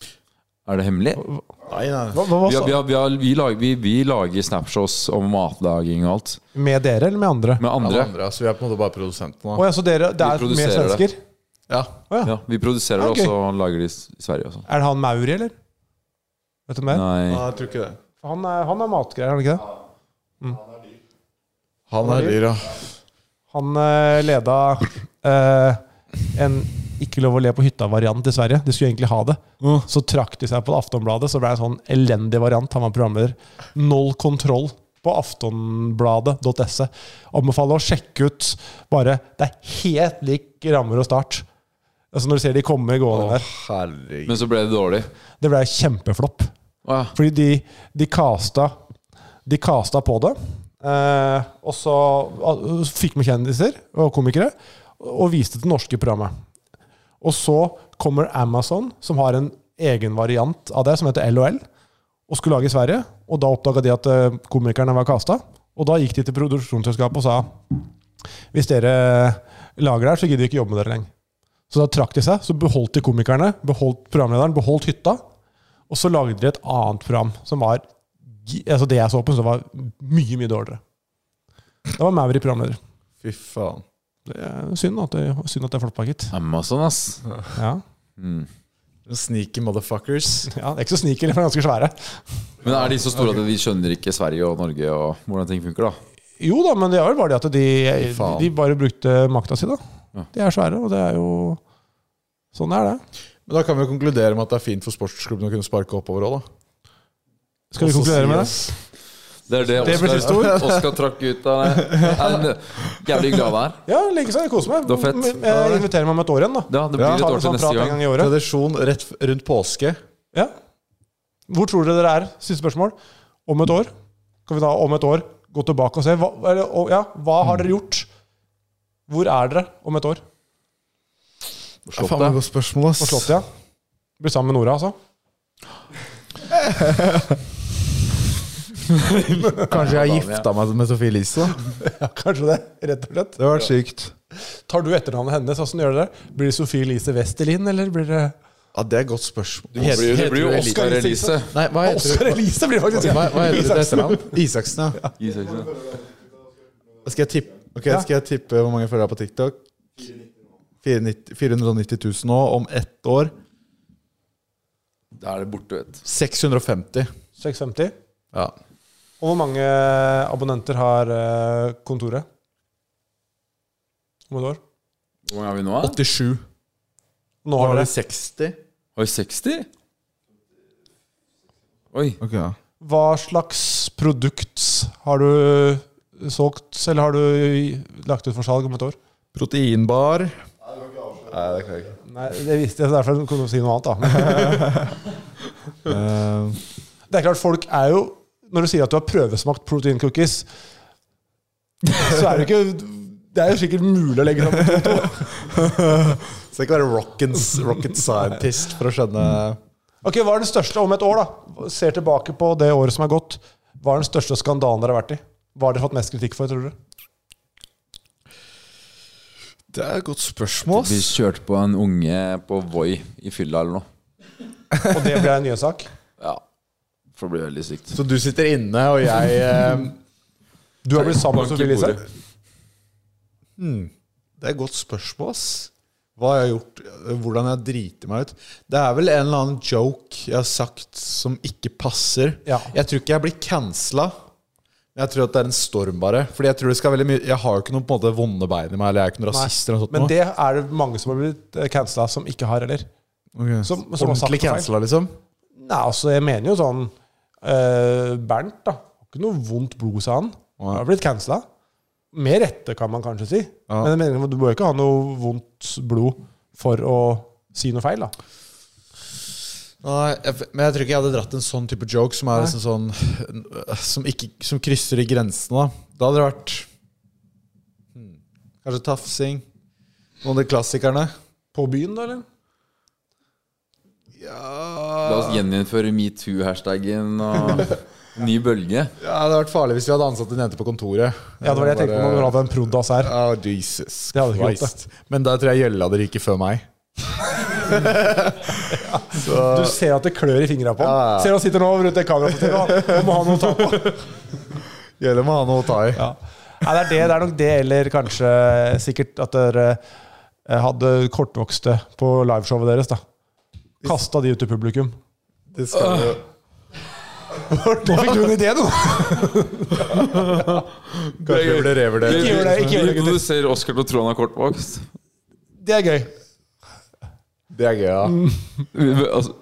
S4: Er det hemmelig?
S3: Nei, nei.
S5: Hva, hva,
S4: Vi, har, vi,
S5: hva,
S4: har, vi, har, vi, lager, vi, vi lager snapshots om matlaging og alt.
S5: med dere eller med andre?
S4: Med
S3: Alle
S4: andre.
S3: andre, altså, vi er på en måte bare produsentene.
S5: Å
S3: da.
S5: ja, så dere, det er mer
S4: produserer det.
S5: svensker?
S3: Ja.
S4: Ja, vi produserer
S5: Ja,
S4: det,
S5: gøy.
S4: og så lager de s- i Sverige og sånn.
S5: Er det han Mauri, eller? Vet du mer?
S3: Nei,
S4: Nei.
S3: jeg tror ikke det.
S5: Han er, han er matgreier, er han ikke det?
S3: Han er dyr, ja.
S5: Han eh, leda eh, en ikke lov å le på hytta-variant i Sverige. De skulle egentlig ha det. Så trakk de seg på Aftonbladet, så ble det en sånn elendig variant. Han var programleder. Null kontroll på aftonbladet.se. Anbefaler å sjekke ut bare Det er helt lik rammer og start. Altså Når du ser de komme gående der.
S3: Herregud.
S4: Men så ble det dårlig.
S5: Det ble kjempeflopp.
S4: Å ja.
S5: Fordi de, de casta De casta på det. Eh, og så ah, fikk vi kjendiser og komikere og viste det norske programmet. Og så kommer Amazon, som har en egen variant av det, som heter LOL, og skulle lage i Sverige. Og da oppdaga de at eh, komikerne var casta. Og da gikk de til produksjonsselskapet og sa hvis dere lager det her, så gidder vi ikke jobbe med dere lenger. Så da trakk de seg. Så beholdt de komikerne, beholdt programlederen, beholdt hytta. Og så lagde de et annet program som var gi- altså Det jeg så på, som var mye, mye dårligere. Da var Maury programleder.
S3: Fy faen.
S5: Det er synd at det, synd at det er flottpakket.
S4: Amazon, ass.
S5: Ja.
S4: Mm.
S3: Sneaky motherfuckers.
S5: ja, det er ikke så sneaky, de er ganske svære.
S4: Men er de så store at de skjønner ikke Sverige og Norge og hvordan ting funker, da?
S5: Jo da, men det er vel bare det at de,
S3: faen.
S5: de bare brukte makta si, da.
S4: Ja.
S5: De er svære, og det er jo Sånn er det.
S3: Men da kan vi jo konkludere med at det er fint for sportsklubben å kunne sparke oppover òg, da.
S5: Skal vi
S3: Også
S5: konkludere med det?
S3: sies-
S4: Det er det
S5: Det blir siste
S4: Oskar, Oskar trakk ut av det. Er han jævlig glad der?
S5: Ja, likeså. Jeg koser meg.
S4: Det var fett.
S5: Men Jeg inviterer meg om et år igjen, da.
S4: Ja, det blir
S5: Ta
S4: et
S5: en
S4: år til
S5: sånn
S4: neste
S5: prat en
S4: gang.
S5: gang i året.
S3: Tradisjon rett f- rundt påske.
S5: Ja. Hvor tror dere dere er? Siste spørsmål. Om et år? Kan vi da om et år gå tilbake og se? Hva, eller, å, ja, hva har dere gjort? Hvor er dere om et år?
S3: Faen, det er et godt spørsmål,
S5: På
S3: ass.
S5: Slottet, ja. Blir sammen med Nora, altså.
S3: Kanskje jeg har gifta meg med Sophie Elise, da.
S5: Ja, kanskje det. Rett og slett.
S6: Det var sykt.
S5: Tar du etternavnet hennes? Åssen gjør dere det? Blir det Sofie Elise Vestelin, eller blir det
S3: Ja, det er et godt spørsmål.
S4: Det blir jo- det blir jo Oskar Elise.
S3: Nei, hva heter
S5: Oskar
S3: du?
S5: Elise blir det faktisk
S3: Hva, hva heter det etternavn? Isaksen, ja.
S4: Isaksen.
S3: Skal jeg tippe, Ok, skal jeg tippe hvor mange følgere er på TikTok? 490 490 000 nå, om ett år.
S4: Da er det borte, vet du.
S3: 650.
S5: 650.
S3: Ja.
S5: Og hvor mange abonnenter har eh, kontoret? Om et år?
S4: Hvor mange er vi nå? da?
S3: 87.
S5: Nå har dere
S3: 60.
S4: Oi, 60? Oi.
S3: Ok, ja.
S5: Hva slags produkt har du solgt, eller har du lagt ut for salg om et år?
S3: Proteinbar. Nei, det kan jeg ikke.
S5: Nei, det visste jeg, så derfor kunne du si noe annet, da.
S3: Eh,
S5: Men det er klart, folk er jo Når du sier at du har prøvesmakt protein cookies, så er det jo ikke Det er jo sikkert mulig å legge sammen to og to.
S3: så det kan være rocket, rocket scientist for å skjønne
S5: Ok, Hva er den største om et år, da? Ser tilbake på det året som er gått. Hva er den største skandalen dere har vært i? Hva har dere fått mest kritikk for, tror dere?
S3: Det er et godt spørsmål.
S4: Vi kjørte på en unge på Voi i fylla eller noe.
S5: Og det ble en nyhetssak.
S4: Ja. For det blir veldig sykt.
S3: Så du sitter inne, og jeg eh,
S5: Du har blitt sammen
S4: Bank
S5: med
S4: i
S5: Sofie Elise.
S4: bordet.
S3: Det er et godt spørsmål, ass. Hva jeg har gjort, hvordan jeg driter meg ut. Det er vel en eller annen joke jeg har sagt som ikke passer.
S5: Ja.
S3: Jeg tror ikke jeg blir cancela. Jeg tror at det er en storm, bare. Fordi Jeg tror det skal veldig mye Jeg har jo ikke noen på en måte vonde bein i meg, eller jeg er ikke noen
S5: Nei,
S3: rasist. eller noe sånt
S5: Men
S3: noe.
S5: det er det mange som har blitt cancela, som ikke har heller.
S3: Ok.
S5: som- som har sagt
S3: Ordentlig
S5: feil.
S3: cancela, liksom?
S5: Nei, altså, jeg mener jo sånn eh, Bernt, da. Har ikke noe vondt blod, sa han. Han har blitt cancela. Med rette, kan man kanskje si. Men jeg mener, du bør ikke ha noe vondt blod for å si noe feil, da.
S3: Nei, jeg, men jeg tror ikke jeg hadde dratt en sånn type joke som er liksom sånn som, ikke, som krysser i grensene. Da Da hadde det vært hmm, Kanskje tafsing. Noen av de klassikerne.
S5: På byen, da, eller?
S4: La oss gjeninnføre metoo-hashtagen og ny bølge.
S3: Ja, Det hadde vært farlig hvis vi hadde ansatt en jente på kontoret.
S5: Ja, det var det jeg tenkte på når du
S3: Bare-
S5: hadde en prod.ass her.
S3: Ja, Jesus
S5: Det hadde ikke gått,
S3: Christ. Men der tror jeg Gjelle hadde ryket før meg.
S5: Du ser at det klør i fingra på
S3: Ja,
S5: ham.
S3: ja.
S5: Ser han sitter nå rundt det kamerastativet. Han må ha noe å ta på.
S3: Gjelle må ha noe å ta i.
S5: Nei, det, er det, det er nok det, eller kanskje sikkert at dere eh, hadde kortvokste på liveshowet deres. da. Kasta de ut til publikum.
S3: Det skal jo
S5: Nå fikk du en idé, du!
S3: Kanskje vi blir revurdert.
S5: gjør det, ikke gjør det, gutter.
S4: Du ser Oskar til å tro han er kortvokst.
S5: Det er gøy.
S3: Det er gøy, ja.
S4: Altså,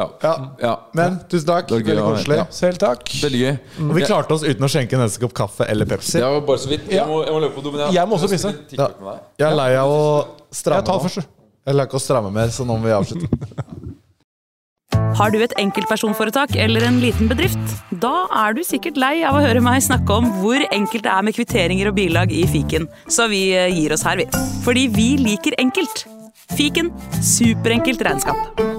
S4: ja. ja.
S3: Men tusen takk.
S4: Det var gøy
S3: Veldig
S4: å være-
S3: koselig.
S4: ja.
S5: Selv takk.
S4: Veldig gøy.
S5: Mm.
S3: Og vi klarte oss uten å skjenke en eneste kopp kaffe eller Pepsi.
S4: Det var bare så vidt. Jeg må, jeg må løpe på do, men jeg,
S5: Jeg må også pisse.
S4: TikTok med deg.
S3: Jeg er lei av å stramme
S5: Jeg tar
S3: nå.
S5: først, du.
S3: Jeg lar ikke å stramme mer, så nå må vi avslutte.
S7: Har du et enkeltpersonforetak eller en liten bedrift? Da er du sikkert lei av å høre meg snakke om hvor enkelt det er med kvitteringer og bilag i fiken, så vi eh, gir oss her, vi. Fordi vi liker enkelt. Fiken superenkelt regnskap.